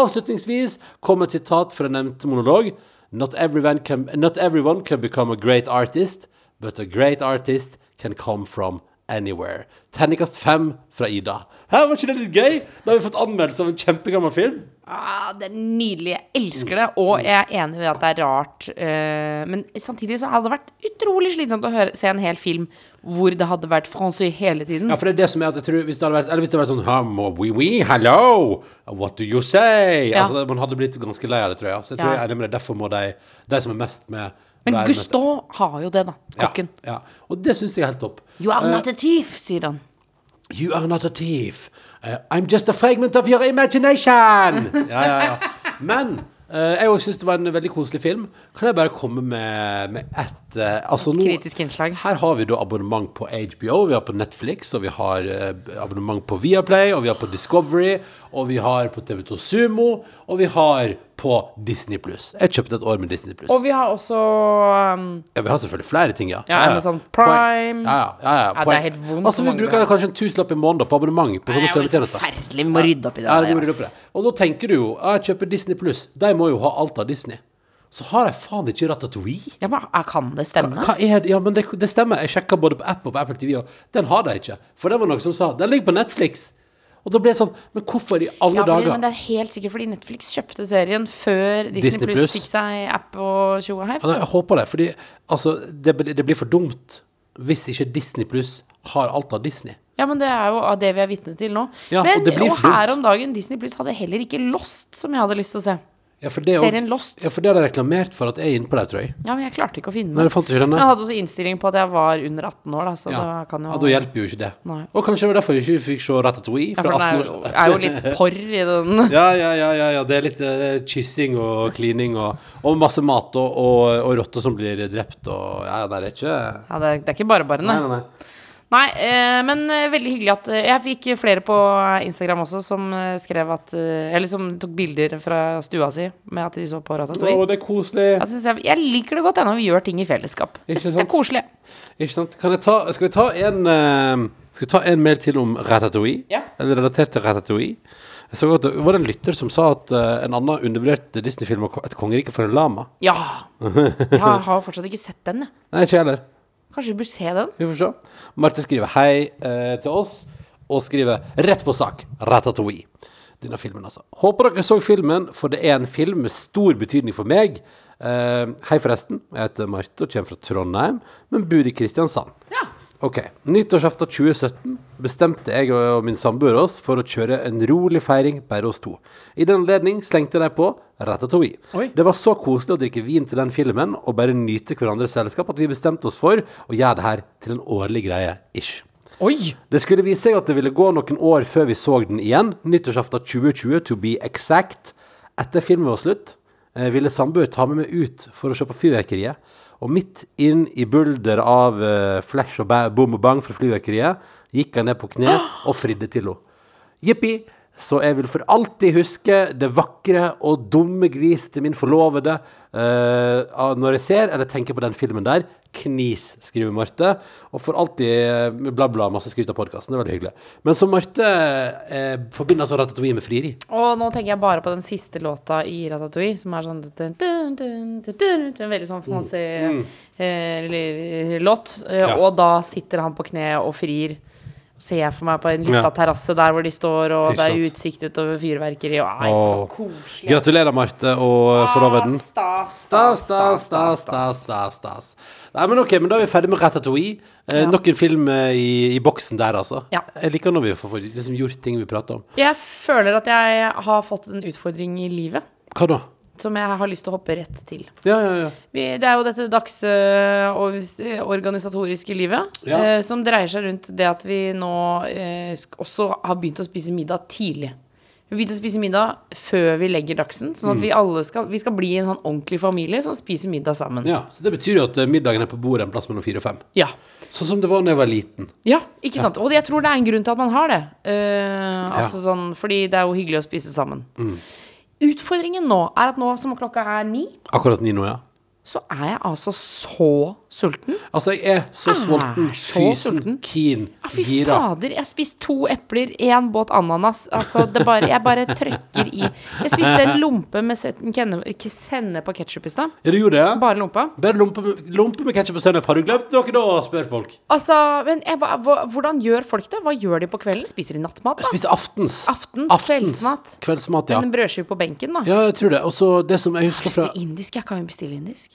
Speaker 7: Avslutningsvis kom et sitat fra nevnte monolog. Not everyone, can, not everyone can become a great artist, but a great artist can come from anywhere. Terningkast fem fra Ida. Hæ, var ikke det litt gøy? Da har vi fått anmeldelse av en kjempegammel film.
Speaker 4: Ah, det er nydelig. Jeg elsker det. Og jeg er enig i det at det er rart. eh, men samtidig så hadde det vært utrolig slitsomt å høre, se en hel film hvor det hadde vært Francy hele tiden.
Speaker 7: Ja, for det er det som er at jeg tror Hvis det hadde vært, eller hvis det hadde vært sånn hum og oui, oui, hello, what do you say?
Speaker 4: Ja.
Speaker 7: Altså, man hadde blitt ganske lei av det, tror jeg. Så jeg
Speaker 4: Ja.
Speaker 7: tror jeg er enig med det. Derfor må de, de som er mest med
Speaker 4: men
Speaker 7: være med-
Speaker 4: Gustav har jo det, da. Kokken.
Speaker 7: Ja, ja. Og det syns jeg er helt topp.
Speaker 4: You are not a thief, sier han.
Speaker 7: You are not a thief. Uh, I'm just a fragment of your imagination. Ja, ja, ja. Men eh, jeg også syns det var en veldig koselig film. Kan jeg bare komme med, med et eh, altså nå-
Speaker 4: Kritisk innslag.
Speaker 7: Her har vi da abonnement på HBO, vi har på Netflix, og vi har eh, abonnement på Viaplay, og vi har på Discovery, og vi har på TV2 Sumo, og vi har på Disney pluss. Jeg kjøpte et år med Disney pluss.
Speaker 4: Og vi har også um,
Speaker 7: Ja, vi har selvfølgelig flere ting, ja.
Speaker 4: Ja, Amazon
Speaker 7: Poeng-
Speaker 4: Prime.
Speaker 7: Ja, ja, ja, ja.
Speaker 4: Ja, det er
Speaker 7: poeng.
Speaker 4: helt vondt
Speaker 7: Altså,
Speaker 4: hvor
Speaker 7: vi
Speaker 4: mange
Speaker 7: bruker
Speaker 4: vi har.
Speaker 7: kanskje en tusenlapp i måneden på abonnement på sånne
Speaker 4: Det er jo helt
Speaker 7: strømmetjenester.
Speaker 4: forferdelig. Vi må rydde opp i det.
Speaker 7: Ja,
Speaker 4: der,
Speaker 7: det må
Speaker 4: ass.
Speaker 7: du rydde opp i det. Og da tenker du jo ja, jeg kjøper Disney pluss. De må jo ha alt av Disney. Så har jeg faen ikke Ratatouille.
Speaker 4: Ja, men ah, Kan det stemme?
Speaker 7: Hva er det? Ja, men det, det stemmer. Jeg sjekka både på app og på Apple TV, og den har de ikke. For det var noen som sa den ligger på Netflix. Og da ble det sånn Men hvorfor i alle
Speaker 4: Ja, fordi, men
Speaker 7: dager?
Speaker 4: det er helt sikkert fordi Netflix kjøpte serien før Disney,
Speaker 7: Disney Plus.
Speaker 4: Plus fikk seg app og tjo og hei.
Speaker 7: Ja, nei, jeg håper det, fordi altså, det, blir- det blir for dumt hvis ikke Disney pluss har alt av Disney.
Speaker 4: Ja, men det er jo av det vi er vitne til nå.
Speaker 7: Ja,
Speaker 4: men,
Speaker 7: og det blir for dumt.
Speaker 4: her om dagen, Disney Plus hadde heller ikke Lost, som jeg hadde lyst til å se.
Speaker 7: Ja, for det, er jo-
Speaker 4: Serien Lost.
Speaker 7: Ja, for det har de reklamert for at jeg er inne på der, tror jeg.
Speaker 4: Ja, men jeg klarte ikke å finne
Speaker 7: Nei, du fant ikke den, nei.
Speaker 4: Men Jeg hadde også innstilling på at jeg var under 18 år, da, så
Speaker 7: Ja.
Speaker 4: da kan jo
Speaker 7: ja, Da hjelper jo ikke det.
Speaker 4: Nei.
Speaker 7: Og kanskje det var derfor jeg ikke fikk se Ratatouille
Speaker 4: Ja, for
Speaker 7: fra
Speaker 4: den
Speaker 7: 18
Speaker 4: er
Speaker 7: år.
Speaker 4: jo, er jo litt porr i den.
Speaker 7: Ja, ja, ja, ja, ja. Det er litt eh, kyssing og klining og, og masse mat og, og, og rotter som blir drept og Ja, det er ikke
Speaker 4: Ja, det, er- det er ikke bare bare, nei.
Speaker 7: Nei,
Speaker 4: nei,
Speaker 7: nei, nei.
Speaker 4: eh, men eh, veldig hyggelig at eh, Jeg fikk flere på Instagram også som eh, skrev at eh, Eller som tok bilder fra stua si med at de så på Ratatouille.
Speaker 7: Å, det er koselig.
Speaker 4: Jeg, synes jeg, jeg liker det godt ennå, vi gjør ting i fellesskap. Jeg
Speaker 7: Ikke
Speaker 4: synes det
Speaker 7: sant?
Speaker 4: er koselig.
Speaker 7: Ikke sant? Kan jeg ta, skal vi ta en eh, Skal vi ta en mail til om Ratatouille?
Speaker 4: Ja.
Speaker 7: En relatert til Ratatouille? Jeg så godt, det var en lytter som sa at eh, en annen undervurdert Disney-film var 'Et kongerike for en lama'.
Speaker 4: Ja! Jeg har har fortsatt ikke sett den, jeg.
Speaker 7: Nei, ikke jeg heller.
Speaker 4: Kanskje vi bør se den?
Speaker 7: Vi får se. Marte skriver hei eh, til oss, og skriver rett på sak. Ratatouille. Denne filmen, altså. Håper dere så filmen, for det er en film med stor betydning for meg. Eh, hei, forresten. Jeg heter Marte og kommer fra Trondheim, men bor i Kristiansand.
Speaker 4: Ja.
Speaker 7: Ok. Nyttårsaften 2017 bestemte jeg og min samboer oss for å kjøre en rolig feiring bare oss to. I den anledning slengte de på Ratatouille.
Speaker 4: Oi.
Speaker 7: Det var så koselig å drikke vin til den filmen og bare nyte hverandres selskap at vi bestemte oss for å gjøre det her til en årlig greie ish.
Speaker 4: Oi!
Speaker 7: Det skulle vise seg at det ville gå noen år før vi så den igjen, nyttårsaften 2020 to be exact. Etter filmen var slutt, eh, ville samboer ta med meg ut for å se på fyrverkeriet. Og midt inn i bulder av eh, flash og ba- boom og bang fra fyrverkeriet, gikk han ned på kne og fridde til henne. Jippi! Så jeg vil for alltid huske det vakre og dumme gliset til min forlovede eh, av- når jeg ser eller tenker på den filmen der. Knis, skriver Marte. Og for alltid eh, bla, bla, masse skryt av podkasten. Det er veldig hyggelig. Men så Marte eh, forbinder altså Ratatouille med frieri.
Speaker 4: Og nå tenker jeg bare på den siste låta i Ratatouille, som er sånn dun, dun, dun, dun, dun, En veldig sånn fancy eh, li- låt. Eh,
Speaker 7: Mm. Ja.
Speaker 4: Og da sitter han på kne og frir. Ser jeg for meg på en lita
Speaker 7: Ja.
Speaker 4: terrasse der hvor de står, og
Speaker 7: Ikke
Speaker 4: det er
Speaker 7: sant.
Speaker 4: utsikt utover fyrverkeri. Og ei, så
Speaker 7: Åh.
Speaker 4: koselig.
Speaker 7: Gratulerer, Marte og forloveden.
Speaker 4: Stas,
Speaker 7: Ah, Stas, stas, stas, stas, stas, stas. Nei, men ok, men da er vi ferdig med Ratatouille. Eh, Nok en film eh, i, i boksen der, altså.
Speaker 4: Ja.
Speaker 7: Jeg liker når vi får får liksom, gjort ting vi prater om.
Speaker 4: Jeg føler at jeg har fått en utfordring i livet
Speaker 7: Hva da?
Speaker 4: som jeg har lyst til å hoppe rett til.
Speaker 7: Ja, ja, ja.
Speaker 4: Vi, det er jo dette dags eh, og- organisatoriske livet
Speaker 7: Ja.
Speaker 4: eh, som dreier seg rundt det at vi nå eh, sk- også har begynt å spise middag tidlig. Vi begynte å spise middag før vi legger dagsen, sånn at vi alle skal, vi skal bli en sånn ordentlig familie som spiser middag sammen.
Speaker 7: Ja, så det betyr jo at eh, middagen er på bordet en plass mellom fire og fem.
Speaker 4: Ja.
Speaker 7: Sånn som det var da jeg var liten.
Speaker 4: Ja, ikke sant. Og jeg tror det er en grunn til at man har det. Eh, altså sånn, fordi det er jo hyggelig å spise sammen. Utfordringen nå er at nå som klokka er ni,
Speaker 7: Akkurat ni nå, ja.
Speaker 4: så er jeg altså så sulten.
Speaker 7: Altså, jeg er så sulten,
Speaker 4: Ah, så
Speaker 7: fysen,
Speaker 4: sulten.
Speaker 7: keen,
Speaker 4: Ja, Ah, fy
Speaker 7: gira.
Speaker 4: fader, jeg har spist to epler, én båt ananas. Altså, det bare, jeg bare trøkker i. Jeg spiste en lompe med set- kenne- k- sennep og ketsjup i stad.
Speaker 7: Er du gjorde det?
Speaker 4: Bare lompa.
Speaker 7: Bare lompe med, lompe med ketchup og sennep. Har du glemt noe da, spør folk.
Speaker 4: Altså, men jeg, hva, hva- hvordan gjør folk det? Hva gjør de på kvelden? Spiser de nattmat, da?
Speaker 7: Spise aftens.
Speaker 4: Aftens, kveldsmat.
Speaker 7: Kveldsmat, ja.
Speaker 4: En brødskive på benken, da?
Speaker 7: Ja, jeg tror det. Og så det som jeg husker fra
Speaker 4: Bestille indisk, jeg kan jo bestille indisk.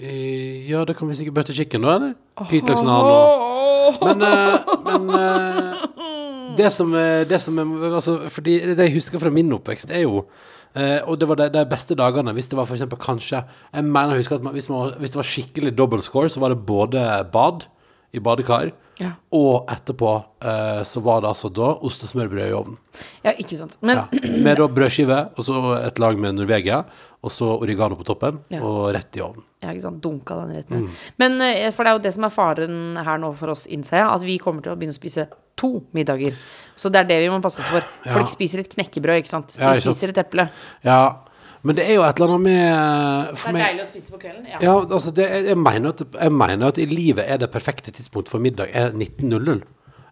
Speaker 7: Eh, Ja, det kan vi sikkert butter chicken, da, eller? Hvitløksnan og Men, eh, men eh, det som, eh, det som er- altså, Fordi det jeg husker fra min oppvekst, er jo eh, Og det var de, de beste dagene, hvis det var for eksempel kanskje Jeg mener jeg husker at man, hvis, man, hvis det var skikkelig double score, så var det både bad i badekar,
Speaker 4: Ja.
Speaker 7: og etterpå eh, så var det altså da ostesmørbrød i ovnen.
Speaker 4: Ja, ikke sant. Men
Speaker 7: Ja. Med da brødskive, og så et lag med Norvegia, og så oregano på toppen,
Speaker 4: Ja.
Speaker 7: og rett i ovnen.
Speaker 4: Jeg har ikke sånn dunka den rett ned. Men eh, for det er jo det som er faren her nå for oss, innser jeg, at vi kommer til å begynne å spise to middager. Så det er det vi må passe oss for. Folk spiser et knekkebrød, ikke sant.
Speaker 7: Ja,
Speaker 4: De
Speaker 7: ikke sant.
Speaker 4: spiser et eple.
Speaker 7: Ja, Men det er jo et eller annet med eh,
Speaker 4: Det
Speaker 7: for
Speaker 4: er
Speaker 7: meg,
Speaker 4: deilig å spise på kvelden. Ja.
Speaker 7: ja, altså det, jeg, jeg mener at, jeg mener at i livet er det perfekte tidspunkt for middag er 19.00.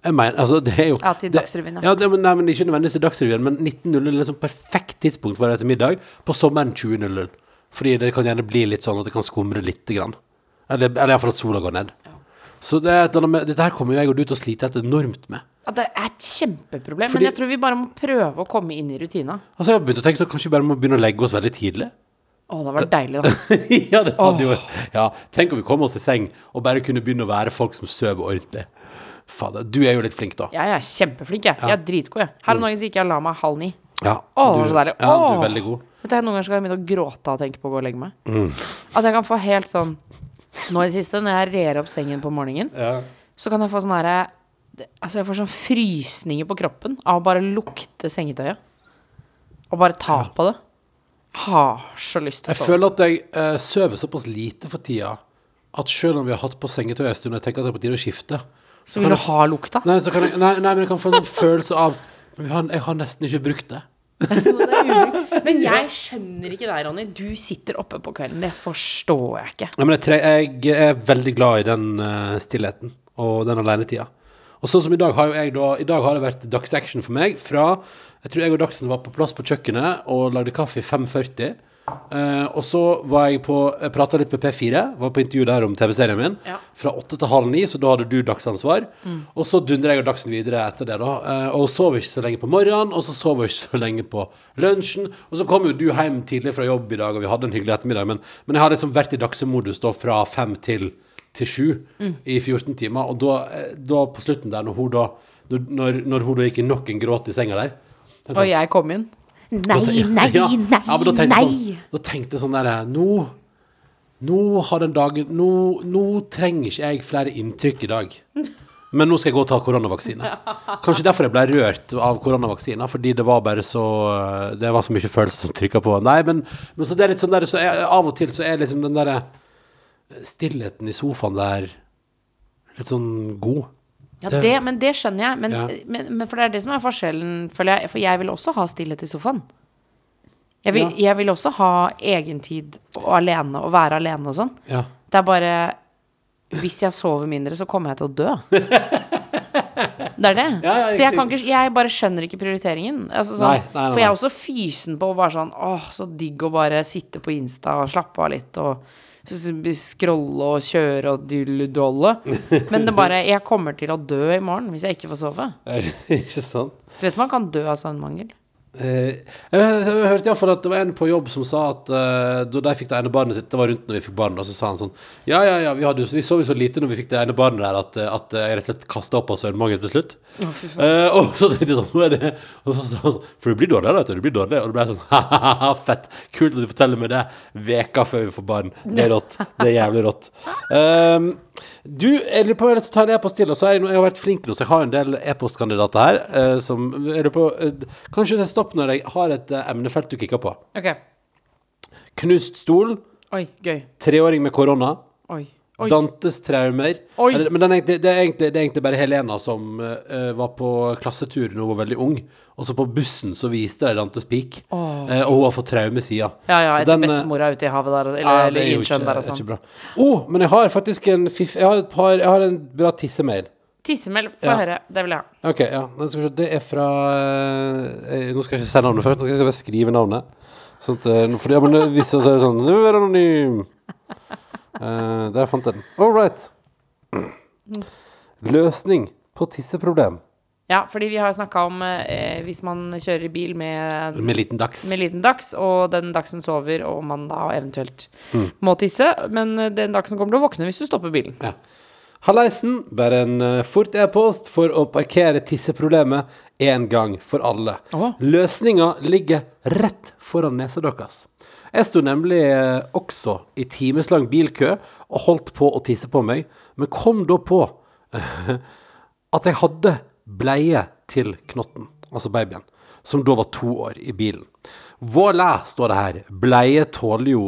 Speaker 7: Jeg mener, altså det er jo
Speaker 4: Ja, til
Speaker 7: det-
Speaker 4: Dagsrevyen, ja.
Speaker 7: ja. Det, men, nei, men ikke nødvendigvis til Dagsrevyen, men 19.00 er liksom perfekt tidspunkt for å til middag. På sommeren 20.00. Fordi det kan gjerne bli litt sånn at det kan skumre lite grann. Eller, eller iallfall at sola går ned. Så det er et eller annet med, dette her kommer jo jeg og du til å slite et enormt med.
Speaker 4: Ja, det er et kjempeproblem,
Speaker 7: Fordi-
Speaker 4: men jeg tror vi bare må prøve å komme inn i rutina.
Speaker 7: Altså Jeg har begynt å tenke sånn, kanskje vi bare må begynne å legge oss veldig tidlig?
Speaker 4: Å, det var deilig, da.
Speaker 7: ja, det hadde jo ja, Tenk om vi kom oss i seng og bare kunne begynne å være folk som sover ordentlig. Fader, du er jo litt flink, da.
Speaker 4: Jeg er kjempeflink, jeg. Jeg er dritgod, jeg. Her om dagen så gikk jeg og la meg halv ni.
Speaker 7: Ja,
Speaker 4: Å,
Speaker 7: du,
Speaker 4: så deilig.
Speaker 7: ja, du
Speaker 4: Åh.
Speaker 7: er veldig god. Mm.
Speaker 4: Vet du, jeg Noen ganger skal jeg begynne å gråte av å tenke på å gå og legge meg. At jeg kan få helt sånn Nå i det siste, når jeg rer opp sengen på morgenen, så kan jeg få sånn herre Altså, jeg får sånn frysninger på kroppen av å bare lukte sengetøyet. Og bare ta på det. Jeg Har så lyst til å
Speaker 7: Jeg
Speaker 4: sove.
Speaker 7: føler at jeg eh, sover såpass lite for tida at selv om vi har hatt på sengetøy en stund, og jeg tenker at det er på tide å skifte
Speaker 4: Så vil
Speaker 7: kan
Speaker 4: du ha lukta?
Speaker 7: Nei, så kan jeg, nei, nei, men jeg kan få en sånn følelse av men vi har, Jeg har nesten ikke brukt det.
Speaker 4: Så det er ubrukt. Men jeg skjønner ikke deg, Ronny. Du sitter oppe på kvelden. Det forstår jeg ikke.
Speaker 7: Nei, men jeg, tre, jeg er veldig glad i den eh, stillheten og den alenetida. Og sånn som i dag har jo jeg da I dag har det vært dagsaction for meg fra Jeg tror jeg og Dagsen var på plass på kjøkkenet og lagde kaffe i 5.40. eh, og så var jeg på Jeg prata litt med P4, var på intervju der om TV-serien min.
Speaker 4: Ja.
Speaker 7: Fra åtte til halv ni, så da hadde du dagsansvar. Og så dundrer jeg og Dagsen videre etter det, da. Eh, og sov ikke så lenge på morgenen, og så sov ikke så lenge på lunsjen. Og så kom jo du hjem tidlig fra jobb i dag, og vi hadde en hyggelig ettermiddag, men, men jeg har liksom vært i dagsemodus da fra fem til til sju i 14 timer, og da, eh, da på slutten der, når hun da når, når, når hun da gikk i nok en gråt i senga der
Speaker 4: Og jeg kom inn. Nei,
Speaker 7: da ten-
Speaker 4: nei,
Speaker 7: ja,
Speaker 4: nei,
Speaker 7: ja, men da tenkte
Speaker 4: nei.
Speaker 7: jeg Sånn, da tenkte jeg sånn der Nå, nå har den dagen nå, nå trenger ikke jeg flere inntrykk i dag. Men nå skal jeg gå og ta koronavaksine. Kanskje derfor jeg ble rørt av koronavaksina, fordi det var bare så Det var så mye følelser som trykka på. Nei, men, men så det er litt sånn der så jeg, Av og til så er liksom den derre stillheten i sofaen der litt sånn god.
Speaker 4: Ja,
Speaker 7: Det-
Speaker 4: det, men det skjønner jeg. Men,
Speaker 7: Ja.
Speaker 4: men, men for det er det som er forskjellen, føler jeg. For jeg vil også ha stillhet i sofaen. Jeg vil, jeg vil også ha egentid og alene, og være alene og sånn.
Speaker 7: Ja.
Speaker 4: Det er bare Hvis jeg sover mindre, så kommer jeg til å dø. Det er det.
Speaker 7: Ja, ja,
Speaker 4: så jeg,
Speaker 7: riktig,
Speaker 4: kan ikke, jeg bare skjønner ikke prioriteringen. Altså, sånn,
Speaker 7: Nei, nei, nei,
Speaker 4: for jeg
Speaker 7: nei.
Speaker 4: er også fysen på å bare sånn Åh, så digg å bare sitte på Insta og slappe av litt og s- s- scrolle og kjøre og dulledolle. Men det er bare Jeg kommer til å dø i morgen hvis jeg ikke får sove.
Speaker 7: ikke sant?
Speaker 4: Du vet man kan dø av søvnmangel.
Speaker 7: Eh, jeg, jeg hørte iallfall at det var en på jobb som sa at eh, da de fikk det ene barnet sitt Det var rundt når vi fikk barn, da, så sa han sånn Ja, ja, ja, vi, hadde, jo- vi sov jo så lite når vi fikk det ene barnet der at, eh, at jeg rett og slett kasta opp av søvnmangel til slutt. Eh, og så tenkte jeg sånn Nå er det og så, sa han sånn, For du blir dårligere, vet du. Du blir dårligere. Og det ble jeg sånn Ha-ha-ha, fett. Kult at du forteller meg det veka før vi får barn. Det er rått. Det er jævlig rått. Um, du, jeg lurer på jeg tar en e-post til, og så er jeg, nå- jeg har vært flink nå, så jeg har en del e-postkandidater her. eh, som, jeg lurer på, eh, kanskje det er stopp når jeg har et eh, emnefelt du kikker på.
Speaker 4: Ok.
Speaker 7: Knust stol,
Speaker 4: Oi, gøy.
Speaker 7: treåring med korona,
Speaker 4: Oi. Oi.
Speaker 7: Dantes traumer.
Speaker 4: Oi.
Speaker 7: Eller, Men den er egentlig, det, er egentlig, det er egentlig bare Helena som eh, var på klassetur da hun var veldig ung. Og så på bussen så viste de Dantes pik, Eh, og hun har fått traume siden.
Speaker 4: Ja, ja,
Speaker 7: Så
Speaker 4: etter
Speaker 7: den, eh,
Speaker 4: bestemora ute i havet der, eller,
Speaker 7: ja, det
Speaker 4: eller
Speaker 7: er
Speaker 4: i
Speaker 7: jo
Speaker 4: innsjøen
Speaker 7: ikke-
Speaker 4: der og
Speaker 7: det er ikke
Speaker 4: sånn.
Speaker 7: bra. Å, men jeg har faktisk en fiff... Jeg har, et par, jeg har en bra tissemail.
Speaker 4: Tissemel, få
Speaker 7: Ja.
Speaker 4: høre. Det vil jeg ha.
Speaker 7: Ok, ja. Men skal vi se, det er fra eh, eh, Nå skal jeg ikke si navnet først, nå skal jeg bare skrive navnet. Sånn at, eh, for ja, men det- hvis jeg sier sånn Du er anonym! Eh, der fant jeg den. All right. Løsning på tisseproblem.
Speaker 4: Ja, fordi vi har snakka om eh, hvis man kjører bil med,
Speaker 7: Med liten dags.
Speaker 4: med liten dags, og den dagsen sover, og man da eventuelt
Speaker 7: Mm.
Speaker 4: må tisse. Men eh, den dagsen kommer til å våkne hvis du stopper bilen.
Speaker 7: Ja. Halleisen, bare en eh, fort e-post for å parkere tisseproblemet en gang for alle.
Speaker 4: Åh.
Speaker 7: Løsninga ligger rett foran nesa deres. Jeg sto nemlig eh, også i timeslang bilkø og holdt på å tisse på meg, men kom da på at jeg hadde bleie til knotten, altså babyen, som da var to år i bilen. Voilà, står det her. Bleie tåler jo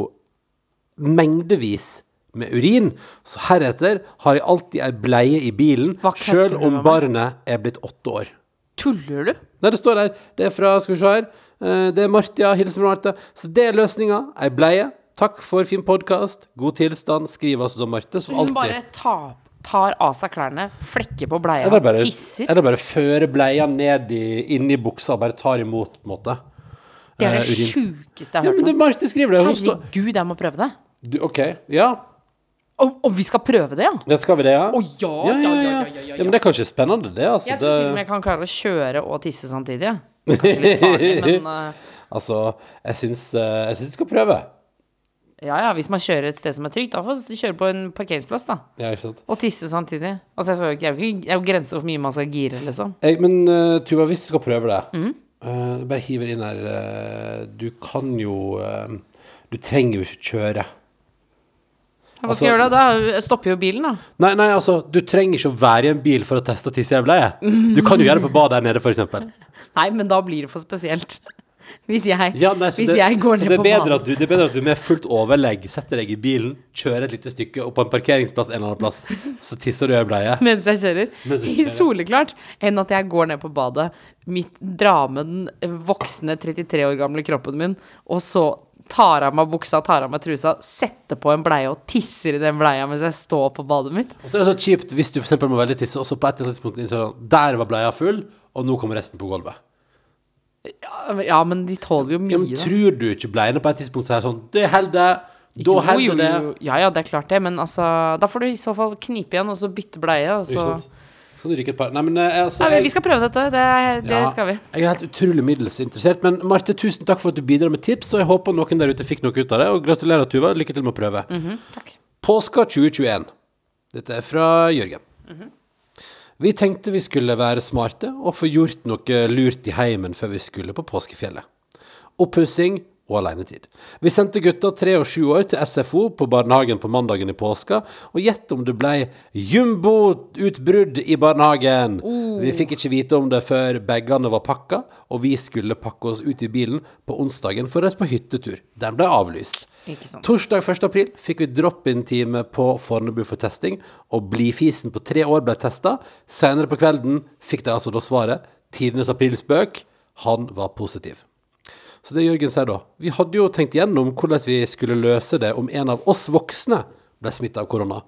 Speaker 7: mengdevis med urin, så heretter har jeg alltid ei bleie i bilen,
Speaker 4: Hva kødder
Speaker 7: sjøl
Speaker 4: du
Speaker 7: om
Speaker 4: med meg?
Speaker 7: barnet er blitt åtte år.
Speaker 4: Tuller du?
Speaker 7: Nei, det står der. Det er fra Skal vi se her. Eh, Det er Martia. Hilsen fra Marte. Så det er løsninga. Ei bleie. Takk for fin podkast. God tilstand. Skriv altså da, Marte, som
Speaker 4: Hun
Speaker 7: alltid.
Speaker 4: bare tar, tar av seg klærne, flekker på bleia,
Speaker 7: Eller bare,
Speaker 4: tisser.
Speaker 7: eller bare fører bleia ned i, inn i buksa og bare tar imot, på en måte.
Speaker 4: Det er
Speaker 7: eh,
Speaker 4: det
Speaker 7: urin.
Speaker 4: sjukeste jeg
Speaker 7: Ja,
Speaker 4: har
Speaker 7: men
Speaker 4: hørt
Speaker 7: det
Speaker 4: om.
Speaker 7: Marte skriver det. Hun står
Speaker 4: Herregud, jeg må prøve det.
Speaker 7: du, OK. Ja,
Speaker 4: Om, om vi skal prøve det, ja?
Speaker 7: det skal vi det, ja?
Speaker 4: Å ja, ja, ja, ja, ja, ja,
Speaker 7: Men det er kanskje spennende, det. Altså,
Speaker 4: Jeg tror til og med
Speaker 7: det
Speaker 4: jeg kan klare å kjøre og tisse samtidig. jeg. Kanskje litt farlig, men eh,
Speaker 7: altså, jeg syns eh, jeg syns du skal prøve.
Speaker 4: eh, ja, ja, hvis man kjører et sted som er trygt, da får man kjøre på en parkeringsplass, da.
Speaker 7: Ja, ikke sant?
Speaker 4: Og tisse samtidig. Altså, jeg, skal, jo ikke- jeg, er jo ikke- jeg er jo grenser for hvor mye man skal gire, liksom.
Speaker 7: Jeg, men eh, Tuva, hvis du skal prøve det
Speaker 4: Mhm.
Speaker 7: eh, Bare hiver inn her eh, Du kan jo eh, Du trenger jo ikke kjøre.
Speaker 4: Hva skal jeg gjøre da? Da stopper jo bilen, da.
Speaker 7: Nei, nei, altså, du trenger ikke å være i en bil for å teste tissejævleie. Du kan jo gjøre det på badet her nede, f.eks.
Speaker 4: Nei, men da blir det for spesielt. Hvis jeg,
Speaker 7: Ja, nei, så
Speaker 4: hvis
Speaker 7: det,
Speaker 4: jeg går
Speaker 7: så
Speaker 4: ned
Speaker 7: det er
Speaker 4: på
Speaker 7: bedre
Speaker 4: banen
Speaker 7: at du, det er bedre at du med fullt overlegg setter deg i bilen, kjører et lite stykke opp på en parkeringsplass en eller annen plass, så tisser du i ei bleie.
Speaker 4: mens jeg kjører,
Speaker 7: Mens du kjører.
Speaker 4: soleklart, enn at jeg går ned på badet, mitt, drar med den voksne 33 år gamle kroppen min, og så tar av meg buksa, tar av meg trusa, setter på en bleie og tisser i den bleia mens jeg står på badet mitt.
Speaker 7: Og så er det så kjipt hvis du for eksempel må veldig tisse, og så på et eller annet tidspunkt innser du at der var bleia full, og nå kommer resten på gulvet.
Speaker 4: Ja, men de tåler jo
Speaker 7: Ja,
Speaker 4: mye,
Speaker 7: men
Speaker 4: da.
Speaker 7: tror du ikke bleiene på et tidspunkt sier sånn Det holder, da
Speaker 4: Jo, jo,
Speaker 7: holder det.
Speaker 4: jo. Ja, ja, det er klart det, men altså Da får du i så fall knipe igjen, og så bytte bleie, og
Speaker 7: Ikke
Speaker 4: så
Speaker 7: sant? Så kan du rykke et par Nei, men eh, altså
Speaker 4: Nei, men
Speaker 7: jeg-
Speaker 4: vi skal prøve dette. Det, det
Speaker 7: Ja,
Speaker 4: skal vi.
Speaker 7: Jeg er helt utrolig middels interessert. Men Marte, tusen takk for at du bidrar med tips, og jeg håper noen der ute fikk noe ut av det. Og gratulerer, Tuva. Lykke til med å prøve.
Speaker 4: Mhm, Takk.
Speaker 7: Påska 2021. Dette er fra Jørgen. Vi tenkte vi skulle være smarte og få gjort noe lurt i heimen før vi skulle på påskefjellet. Oppussing og alenetid. Vi sendte gutta tre og sju år til SFO på barnehagen på mandagen i påska, og gjett om det ble jumboutbrudd i barnehagen!
Speaker 4: Oh.
Speaker 7: Vi fikk ikke vite om det før bagene var pakka, og vi skulle pakke oss ut i bilen på onsdagen for å reise på hyttetur. Den ble avlyst.
Speaker 4: Ikke sant.
Speaker 7: Torsdag 1. april fikk vi drop-in-time på Fornebu for testing, og blidfisen på tre år ble testa. Senere på kvelden fikk de altså da svaret. Tidenes aprilspøk. Han var positiv. Så det Jørgen sier da, vi hadde jo tenkt gjennom hvordan vi skulle løse det om en av oss voksne ble smitta av korona,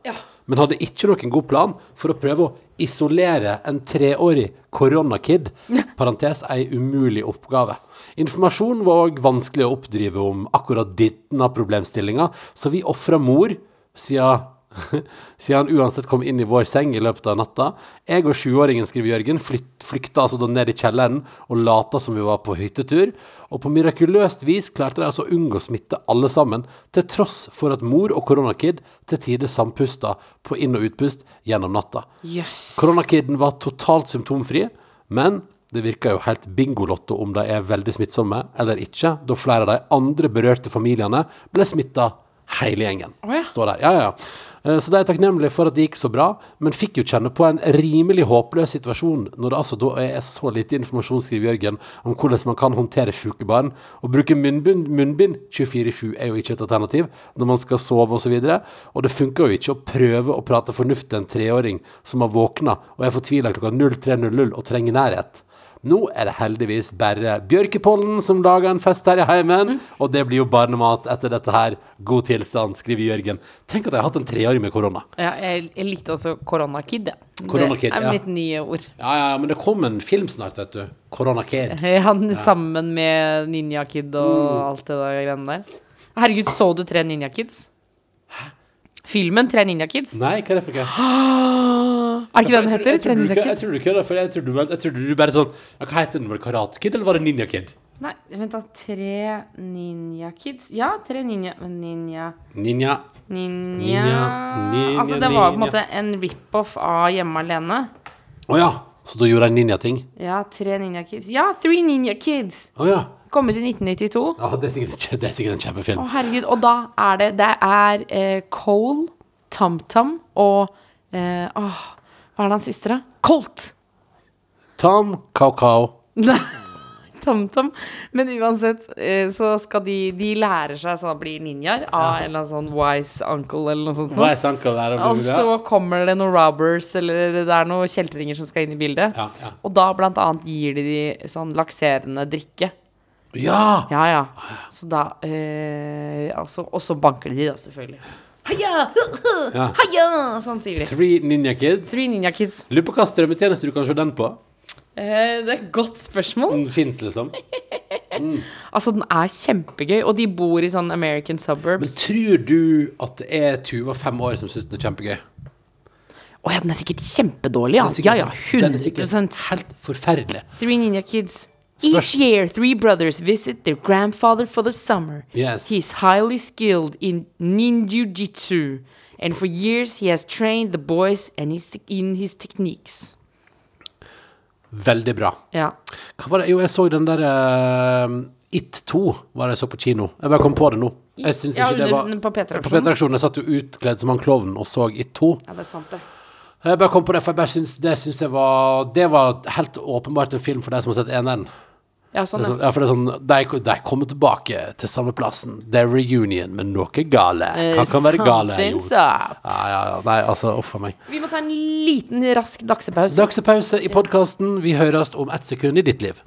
Speaker 7: men hadde ikke noen god plan for å prøve å isolere en treårig koronakid, parentes ei umulig oppgave. Informasjon var òg vanskelig å oppdrive om akkurat denne problemstillinga, så vi ofra mor, siden siden han uansett kom inn i vår seng i løpet av natta. Jeg og sjuåringen, skriver Jørgen, flyt, flykta altså da ned i kjelleren og lata som vi var på hyttetur. Og på mirakuløst vis klarte de altså å unngå smitte alle sammen, til tross for at mor og koronakid til tider sampusta på inn- og utpust gjennom natta.
Speaker 4: Jøss.
Speaker 7: Koronakiden var totalt symptomfri, men det virker jo helt bingolotto om de er veldig smittsomme eller ikke, da flere av de andre berørte familiene ble smitta hele gjengen.
Speaker 4: Å ja.
Speaker 7: Står der. Ja, ja, ja. Eh, Så de er takknemlige for at det gikk så bra, men fikk jo kjenne på en rimelig håpløs situasjon når det altså da er så lite informasjon, skriver Jørgen, om hvordan man kan håndtere syke barn. Å bruke munnbind, munnbind 24-7 er jo ikke et alternativ når man skal sove osv. Og, så og det funker jo ikke å prøve å prate fornuft til en treåring som har våkna og er fortvila klokka 03.00 og trenger nærhet. Nå er det heldigvis bare bjørkepollen som lager en fest her i heimen, og det blir jo barnemat etter dette her. God tilstand, skriver Jørgen. Tenk at jeg har hatt en treåring med korona.
Speaker 4: Ja, jeg, jeg likte også koronakid. ja.
Speaker 7: Koronakid,
Speaker 4: det er
Speaker 7: ja.
Speaker 4: mitt nye ord.
Speaker 7: Ja, ja, men det kom en film snart, vet du. Koronakid.
Speaker 4: Han sammen med Ninja Kid og
Speaker 7: Uh.
Speaker 4: alt det der greiene der. Herregud, så du Tre Ninja Kids? Filmen Tre Ninja Kids?
Speaker 7: Nei, hva er det for noe?
Speaker 4: Er ikke det den heter?
Speaker 7: Altså,
Speaker 4: Tre
Speaker 7: Jeg tror du
Speaker 4: Ninja
Speaker 7: ikke jeg
Speaker 4: Kids?
Speaker 7: tror du ikke det, for jeg tror du, jeg tror du bare sånn ja, Hva heter den? Var det Karate Kid, eller var det Ninja Kid?
Speaker 4: Nei, vent da. Tre Ninja Kids? Ja, Tre Ninja men Ninja
Speaker 7: Ninja.
Speaker 4: Ninja,
Speaker 7: Ninja, ninja,
Speaker 4: Altså, det var på en
Speaker 7: ninja.
Speaker 4: måte en rip-off av Hjemme alene.
Speaker 7: Å ja. Så da gjorde jeg ninjating?
Speaker 4: Ja, Tre Ninja Kids. Ja, Three Ninja Kids!
Speaker 7: Å ja.
Speaker 4: Kom ut i 1992.
Speaker 7: ja. Det er sikkert, en kje- det er sikkert en
Speaker 4: Å,
Speaker 7: kjempefilm.
Speaker 4: herregud. Og da er det Det er eh, Cole, TamTam og eh, åh, Hva er det han siste, da? Colt!
Speaker 7: Tom Kaukau.
Speaker 4: Nei, TamTam. Men uansett eh, så skal de De lærer seg sånn at de blir ninjaer av en eller annen sånn wise uncle eller noe sånt.
Speaker 7: Hva
Speaker 4: noe.
Speaker 7: er sanka der?
Speaker 4: Og så Altså, kommer det noen robbers eller det er noen kjeltringer som skal inn i bildet.
Speaker 7: Ja, ja.
Speaker 4: Og da blant annet gir de de sånn lakserende drikke.
Speaker 7: Ah, ja!
Speaker 4: Ja, ja. Så da eh, altså, Og så banker de, da, selvfølgelig. Heia!
Speaker 7: Ja.
Speaker 4: Heia! Sånn sier de.
Speaker 7: Three Ninja Kids.
Speaker 4: Three Ninja Kids.
Speaker 7: Lurer på hva strømmetjeneste du kan se den på.
Speaker 4: Eh, det er et godt spørsmål.
Speaker 7: Den fins, liksom.
Speaker 4: Altså, den er kjempegøy, og de bor i sånn American
Speaker 7: Men
Speaker 4: suburbs.
Speaker 7: tror du at det er Tuva fem år som syns den er kjempegøy?
Speaker 4: Å ja, den er sikkert kjempedårlig. Ja,
Speaker 7: Den er
Speaker 4: Ah, ja,
Speaker 7: sikkert-
Speaker 4: ja
Speaker 7: Den er sikkert
Speaker 4: 100
Speaker 7: helt forferdelig.
Speaker 4: Three Ninja Kids.
Speaker 7: Spørs-
Speaker 4: Each year, three brothers visit their grandfather for the summer.
Speaker 7: Yes.
Speaker 4: He is highly skilled in ninjutsu, and for years he has trained the boys and his, in his techniques.
Speaker 7: Veldig bra.
Speaker 4: Ja.
Speaker 7: Hva var det? Jo, jeg så den der eh, It 2 var det jeg så på kino. Jeg bare kom på det nå. Jeg syns
Speaker 4: Ja,
Speaker 7: ikke det var
Speaker 4: under- på P3-aksjonen.
Speaker 7: På P3-aksjonen. Jeg satt jo utkledd som han klovnen og så It 2.
Speaker 4: ja, det er sant, det.
Speaker 7: Jeg bare kom på det, for jeg bare syns det syns jeg var Det var helt åpenbart en film for deg som har sett eneren.
Speaker 4: Ja,
Speaker 7: Det
Speaker 4: sånn,
Speaker 7: er
Speaker 4: ja.
Speaker 7: sånn- Ja, for det er sånn De, de kommer tilbake til samme plassen. Det er reunion, men noe er gale. Hva kan
Speaker 4: Eh,
Speaker 7: være gale? Jo.
Speaker 4: Something's
Speaker 7: Ja,
Speaker 4: up.
Speaker 7: ja, ja. Nei, altså, uff a meg.
Speaker 4: Vi må ta en liten rask dagsepause.
Speaker 7: Dagsepause i podkasten. Vi høres om ett sekund i ditt liv.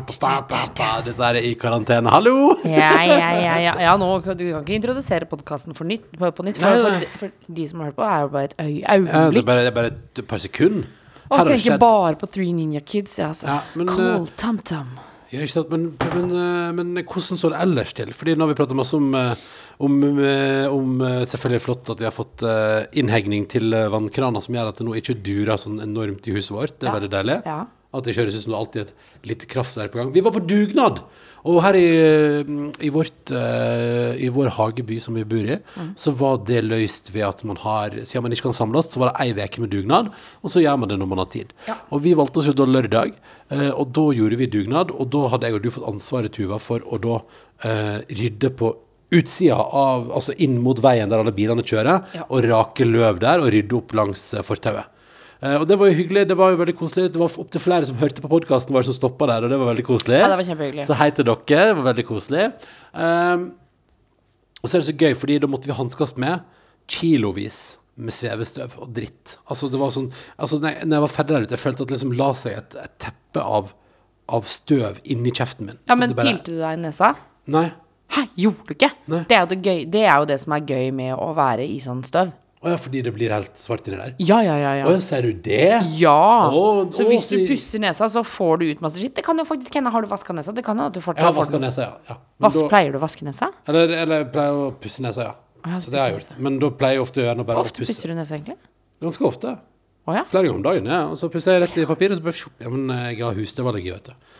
Speaker 7: Disse er i karantene. Hallo!
Speaker 4: Ja, ja, ja, ja. ja nå, du kan ikke introdusere podkasten for nytt, på, på nytt. For,
Speaker 7: Nei, nei.
Speaker 4: for, for de som hører på, er jo bare et øy,
Speaker 7: Ja, Det er
Speaker 4: øyeblikk.
Speaker 7: bare, det er bare et par sekunder.
Speaker 4: Og
Speaker 7: Her har det
Speaker 4: tenker
Speaker 7: skjedd.
Speaker 4: bare på Three Ninja Kids. Ja, altså.
Speaker 7: Ja, men,
Speaker 4: Cool
Speaker 7: eh,
Speaker 4: TamTam.
Speaker 7: Ja, ikke sant? Men, men, eh, men hvordan står det ellers til? Fordi nå har vi pratet masse om, eh, om, eh, om eh, Selvfølgelig flott at vi har fått eh, innhegning til eh, vannkrana som gjør at det nå ikke durer sånn enormt i huset vårt. Det er
Speaker 4: Ja.
Speaker 7: veldig deilig.
Speaker 4: Ja.
Speaker 7: At det kjøres ut som det alltid er et lite kraftverk på gang. Vi var på dugnad! Og her i, eh, i, vårt, eh, i vår hageby som vi bor i, så var det løst ved at man har Siden man ikke kan samles, så var det ei uke med dugnad, og så gjør man det når man har tid. Og vi valgte oss jo da lørdag, eh, og da gjorde vi dugnad. Og da hadde jeg og du fått ansvaret, Tuva, for å da eh, rydde på utsida av Altså inn mot veien der alle bilene kjører,
Speaker 4: Ja.
Speaker 7: og rake løv der, og rydde opp langs eh, fortauet. Eh, og det var jo hyggelig, det var jo veldig koselig. Det var opptil flere som hørte på podkasten vår som stoppa der, og det var veldig koselig.
Speaker 4: Ja, det var kjempehyggelig.
Speaker 7: Så hei til dere, det var veldig koselig. Um, og så er det så gøy, fordi da måtte vi hanskast med kilovis med svevestøv og dritt. Altså, det var sånn altså, når, jeg, når jeg var ferdig der ute, jeg følte at det liksom la seg et, et teppe av, av støv inni kjeften min.
Speaker 4: Ja, men
Speaker 7: Det bare-
Speaker 4: pilte du deg i nesa?
Speaker 7: Nei.
Speaker 4: Hæ, gjorde du ikke?
Speaker 7: Nei.
Speaker 4: Det er, jo det, gøy, det er jo det som er gøy med å være i sånn støv.
Speaker 7: Å ja, fordi det blir helt svart inni der.
Speaker 4: Ja, ja, ja. ja.
Speaker 7: Å ja, ser du det?
Speaker 4: Ja!
Speaker 7: Å,
Speaker 4: så
Speaker 7: å,
Speaker 4: hvis du
Speaker 7: så-
Speaker 4: pusser nesa, så får du ut masse skitt. Det kan jo faktisk hende. Har du vaska nesa? Det kan hende at du
Speaker 7: Jeg
Speaker 4: fortsatt
Speaker 7: har
Speaker 4: får
Speaker 7: vaska
Speaker 4: den.
Speaker 7: nesa, ja. ja. Men
Speaker 4: Vas,
Speaker 7: da-
Speaker 4: pleier du å vaske nesa?
Speaker 7: Eller, eller jeg pleier å pusse nesa, ja.
Speaker 4: ja,
Speaker 7: Så det har jeg
Speaker 4: pusse
Speaker 7: gjort. Men da pleier jeg ofte å gjøre noe bare å
Speaker 4: Ofte
Speaker 7: pusse.
Speaker 4: pusser du nesa, egentlig.
Speaker 7: Ganske ofte.
Speaker 4: Å ja.
Speaker 7: Flere ganger om dagen, ja. Og så pusser jeg rett i papiret, og så bare sjopp. Ja, men eh, jeg har husstøvallergi, vet du.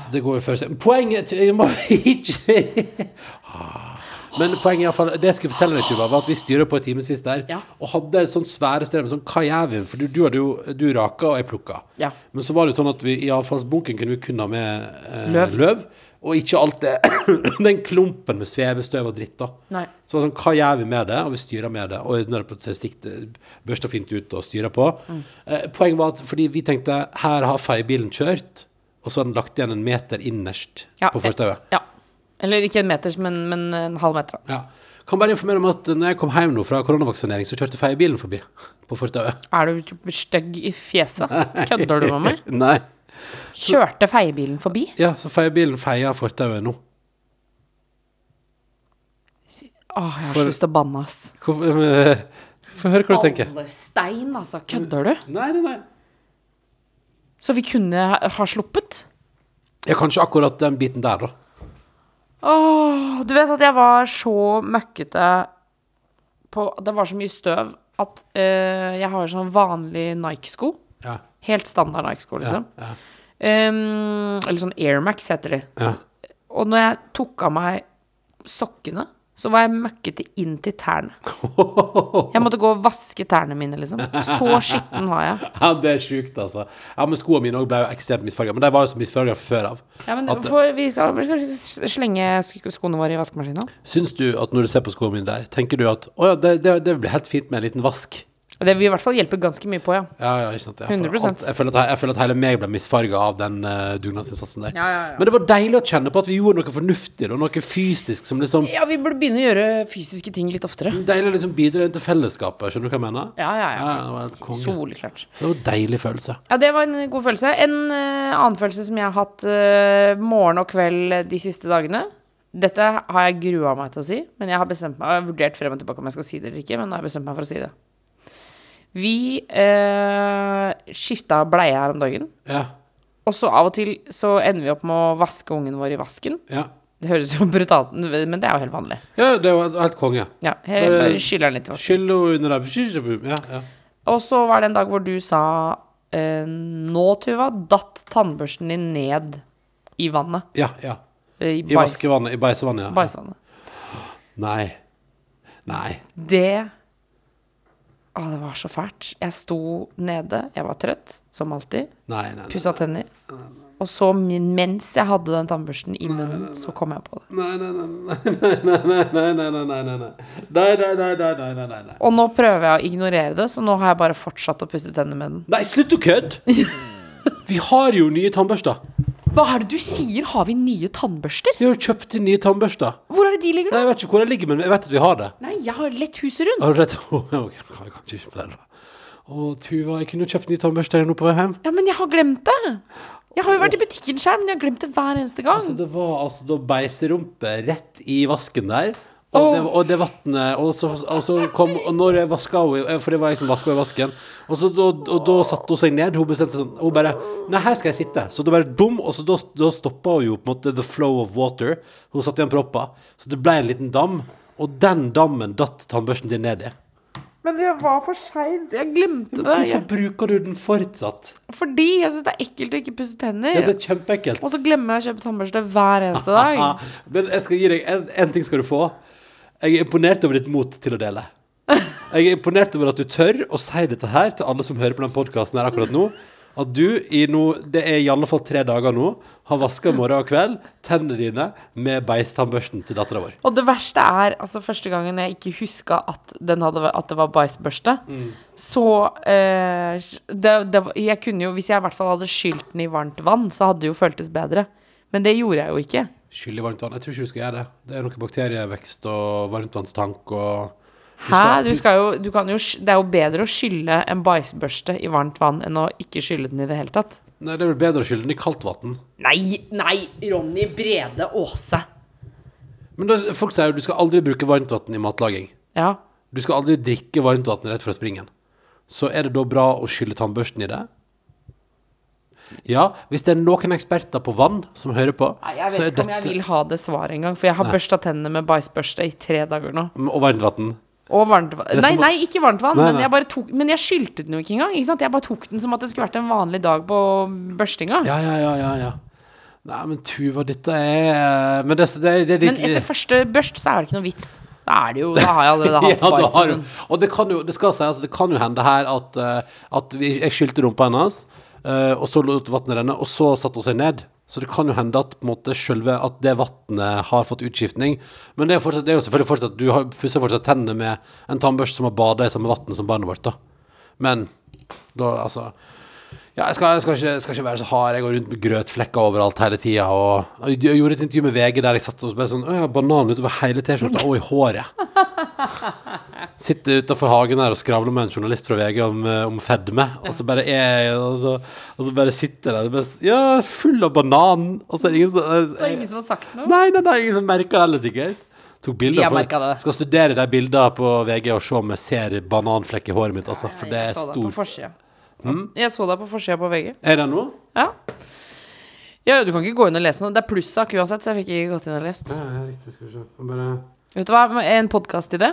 Speaker 7: Så det går jo før seg. Poenget til Jeg må ikke Ah. Men poenget i hvert fall, det jeg skulle fortelle deg, Tuva, var at vi styrer på i timevis der,
Speaker 4: Ja.
Speaker 7: og hadde et sånt svære strev med sånn Hva gjør vi? For du, du hadde jo Du raka, og jeg plukka.
Speaker 4: Ja.
Speaker 7: Men så var det jo sånn at vi i avfallsbunken kunne vi kun ha med eh, løv.
Speaker 4: Løv.
Speaker 7: og ikke alt det Den klumpen med svevestøv og dritt, da.
Speaker 4: Nei.
Speaker 7: Så det var sånn, hva gjør vi med det? Og vi styrer med det. Og ordner det på til stikt, børster fint ut og styrer på.
Speaker 4: Mm.
Speaker 7: Eh, poenget var at fordi vi tenkte her har feiebilen kjørt, og så har den lagt igjen en meter innerst
Speaker 4: Ja,
Speaker 7: på fortauet.
Speaker 4: Ja. Eller ikke en meters, men, men en halv meter. da.
Speaker 7: Ja. Kan bare informere om at når jeg kom hjem nå fra koronavaksinering, så kjørte feiebilen forbi på fortauet.
Speaker 4: Er du stygg i fjeset? Kødder du med meg?
Speaker 7: Nei.
Speaker 4: Kjørte feiebilen forbi?
Speaker 7: Ja, så feiebilen feier fortauet nå.
Speaker 4: Åh, jeg har
Speaker 7: For-
Speaker 4: så lyst til å banne, ass.
Speaker 7: Hvorfor- eh, Få høre hva du tenker.
Speaker 4: Alle stein, altså. Kødder du?
Speaker 7: Nei, nei, nei.
Speaker 4: Så vi kunne ha- ha sluppet?
Speaker 7: Ja, kanskje akkurat den biten der, da.
Speaker 4: Åh, du vet at jeg var så møkkete på Det var så mye støv at eh, jeg har sånn vanlig Nike-sko.
Speaker 7: Ja.
Speaker 4: Helt standard Nike-sko, liksom. Um, eller sånn Airmax heter de.
Speaker 7: Ja.
Speaker 4: Og når jeg tok av meg sokkene, så var jeg møkkete inn til tærne. Jeg måtte gå og vaske tærne mine, liksom. Så skitten var jeg.
Speaker 7: Ja, det er sjukt, altså. Ja, men skoene mine også ble jo ekstremt misfarga. Men de var jo så misfarga fra før av.
Speaker 4: Ja, men
Speaker 7: At-
Speaker 4: for, vi skal vi skal kanskje slenge sk- skoene våre i vaskemaskina?
Speaker 7: Syns du at når du ser på skoene mine der, tenker du at å ja, det, det, det blir helt fint med en liten vask?
Speaker 4: Det vil i hvert fall hjelpe ganske mye på, ja.
Speaker 7: Ja, ja, ikke sant. Jeg føler,
Speaker 4: 100%.
Speaker 7: alt, jeg, føler at, jeg føler at hele meg ble misfarga av den eh, dugnadsinnsatsen der.
Speaker 4: Ja, ja, ja.
Speaker 7: Men det var deilig å kjenne på at vi gjorde noe fornuftig, og noe fysisk som liksom
Speaker 4: Ja, vi burde begynne å gjøre fysiske ting litt oftere.
Speaker 7: Deilig å liksom bidra til fellesskapet, skjønner du hva jeg mener?
Speaker 4: Ja, ja, ja.
Speaker 7: det var helt konge.
Speaker 4: Soleklart.
Speaker 7: Så det var en deilig følelse.
Speaker 4: Ja, det var en god følelse. En eh, annen følelse som jeg har hatt eh, morgen og kveld de siste dagene Dette har jeg grua meg til å si, men jeg har bestemt meg, og jeg har vurdert frem og tilbake om jeg skal si det eller ikke, men nå har jeg bestemt meg for å si det. Vi eh, skifta bleie her om dagen,
Speaker 7: Ja,
Speaker 4: og så av og til så ender vi opp med å vaske ungen vår i vasken.
Speaker 7: ja.
Speaker 4: Det høres jo brutalt ut, men det er jo helt vanlig.
Speaker 7: ja det var helt konge.
Speaker 4: Ja, jeg
Speaker 7: Bare-
Speaker 4: bare skyller den litt i vasken.
Speaker 7: Skyll henne under der. Skyll henne under- Ja, ja.
Speaker 4: Og så var det en dag hvor du sa eh, Nå, Tuva, datt tannbørsten din ned i vannet.
Speaker 7: ja, ja.
Speaker 4: eh, I,
Speaker 7: I
Speaker 4: bæs-
Speaker 7: vaskevannet. I bæsjevannet, ja.
Speaker 4: bæsjevannet.
Speaker 7: Nei. Nei.
Speaker 4: Det Å, det var så fælt. Jeg sto nede, jeg var trøtt, som alltid.
Speaker 7: Nei, nei, nei.
Speaker 4: Pussa tenner. Og så min- mens jeg hadde den tannbørsten i munnen, så kom jeg på det.
Speaker 7: Nei, nei, nei, nei, nei, nei, nei, nei, nei, nei, nei. Nei, nei, nei, nei, nei, nei, nei, nei.
Speaker 4: Og nå prøver jeg å ignorere det, så nå har jeg bare fortsatt å pusse tenner med den.
Speaker 7: Nei, slutt å kødde! Vi har jo nye tannbørster.
Speaker 4: Hva er det du sier? Har vi nye tannbørster?
Speaker 7: Vi har jo kjøpt inn nye tannbørster.
Speaker 4: Hvor er det de ligger, da?
Speaker 7: Nei, Jeg vet ikke hvor de ligger, men jeg vet at vi har det.
Speaker 4: Nei, jeg har lett huset rundt.
Speaker 7: Har du rett? Å, ok, nå kan jeg kanskje ikke flere, da. Å, Tuva, jeg kunne jo kjøpt ny tannbørste her nå på vei hjem.
Speaker 4: Ja, men jeg har glemt det. Jeg har jo vært i butikken selv, men jeg har glemt det hver eneste gang.
Speaker 7: Altså, det var altså da beiserumpe rett i vasken der. Og det, og det vannet Og så, og så kom Og når jeg vaska henne, eh, for det var jeg som vaska i vasken Og, så, da, og da satte hun seg ned. Hun bestemte seg sånn Hun bare Nei, her skal jeg sitte. Så det bare bom, og så da, da stoppa hun jo på en måte the flow of water. Hun satte igjen propper. Så det ble en liten dam. Og den dammen datt tannbørsten din ned i.
Speaker 4: Men det var for seint. Jeg glemte det.
Speaker 7: Hvorfor
Speaker 4: Jeg,
Speaker 7: bruker du den fortsatt?
Speaker 4: fordi jeg syns det er ekkelt å ikke pusse tenner.
Speaker 7: Ja, det er kjempeekkelt.
Speaker 4: Og så glemmer jeg å kjøpe tannbørste hver eneste dag.
Speaker 7: Ah, men jeg skal gi deg en, en ting skal du få. Jeg er imponert over ditt mot til å dele. Jeg er imponert over at du tør å si dette her til alle som hører på den podkasten her akkurat nå. At du i nå, det er i alle fall tre dager nå, har vaska morgen og kveld tennene dine med beistannbørsten til dattera vår.
Speaker 4: Og det verste er altså første gangen jeg ikke huska at, den hadde, at det var bæsjbørste, så eh, det, det, var- Jeg kunne jo Hvis jeg i hvert fall hadde skylt den i varmt vann, så hadde det jo føltes bedre. Men det gjorde jeg jo ikke.
Speaker 7: Skyll i varmt vann. Jeg tror ikke du skal gjøre det. Det er noe bakterievekst og varmtvannstank og
Speaker 4: Hæ? Du skal jo, du kan jo, sk- det er jo bedre å skylle en bæsjbørste i varmt vann enn å ikke skylle den i det hele tatt.
Speaker 7: Nei, det er vel bedre å skylle den i kaldt vann.
Speaker 4: Nei, nei, Ronny Brede Aase.
Speaker 7: Men da, folk sier jo du skal aldri bruke varmt vann i matlaging.
Speaker 4: Ja.
Speaker 7: Du skal aldri drikke varmt vann rett fra springen. Så er det da bra å skylle tannbørsten i det? Ja, hvis det er noen eksperter på vann som hører på,
Speaker 4: Nei, jeg vet ikke om jeg vil ha det svaret engang, for jeg har børsta tennene med bæsjbørste i tre dager nå.
Speaker 7: Og varmtvann.
Speaker 4: Og varmt vann.
Speaker 7: er
Speaker 4: Nei,
Speaker 7: som å-
Speaker 4: nei, ikke varmt vann,
Speaker 7: Nei,
Speaker 4: men
Speaker 7: nei.
Speaker 4: jeg bare tok Men jeg skylte den jo ikke engang. Ikke sant? Jeg bare tok den som at det skulle vært en vanlig dag på børstinga.
Speaker 7: Ja, ja, ja, ja, ja. Nei, men Tuva, dette er eh, Men det, det, det, det
Speaker 4: Men etter første børst så er det ikke noe vits. Da er det jo Da har jeg allerede
Speaker 7: ja,
Speaker 4: hatt
Speaker 7: det har
Speaker 4: bæsjen.
Speaker 7: hun. Og det kan jo, det skal sies, det kan jo hende her at, eh, at vi, jeg skylte rumpa hennes, eh, og så lot vannet renne, og så satte hun seg ned. Så det kan jo hende at, på en måte, selve, at det vannet har fått utskiftning. Men det er, fortsatt, det er jo selvfølgelig fortsatt du har pusser fortsatt tennene med en tannbørste som har bada i samme vann som barnet vårt. da. Men da, altså ja, jeg skal, jeg, skal ikke, jeg skal ikke være så hard. Jeg går rundt med grøtflekker overalt hele tida. Og, og jeg gjorde et intervju med VG der jeg satt og bare sånn Å, jeg har banan utover hele T-skjorta og i håret. Sitter utafor hagen her og skravler med en journalist fra VG om, eh, om fedme. Og så bare er jeg og så, og så bare sitter jeg der og bare s- Ja, full av banan. Og så er det ingen som eh,
Speaker 4: Det er ingen som har sagt noe.
Speaker 7: Nei, nei, nei, ingen som merker det heller, sikkert. Tok bilder,
Speaker 4: Vi har
Speaker 7: for-
Speaker 4: merket det.
Speaker 7: Skal studere de bildene på VG og se om jeg ser bananflekk i håret mitt, altså. For det er
Speaker 4: jeg så deg på
Speaker 7: stor Hm?
Speaker 4: forsida. Jeg så deg på forsida på VG.
Speaker 7: Er det noe?
Speaker 4: Ja. ja, du kan ikke gå inn og lese noe. Det er plussak uansett, så jeg fikk ikke gått inn og lest.
Speaker 7: Ja, ja, riktig. Skal vi se. Jeg Bare
Speaker 4: Vet du hva, en podkast-idé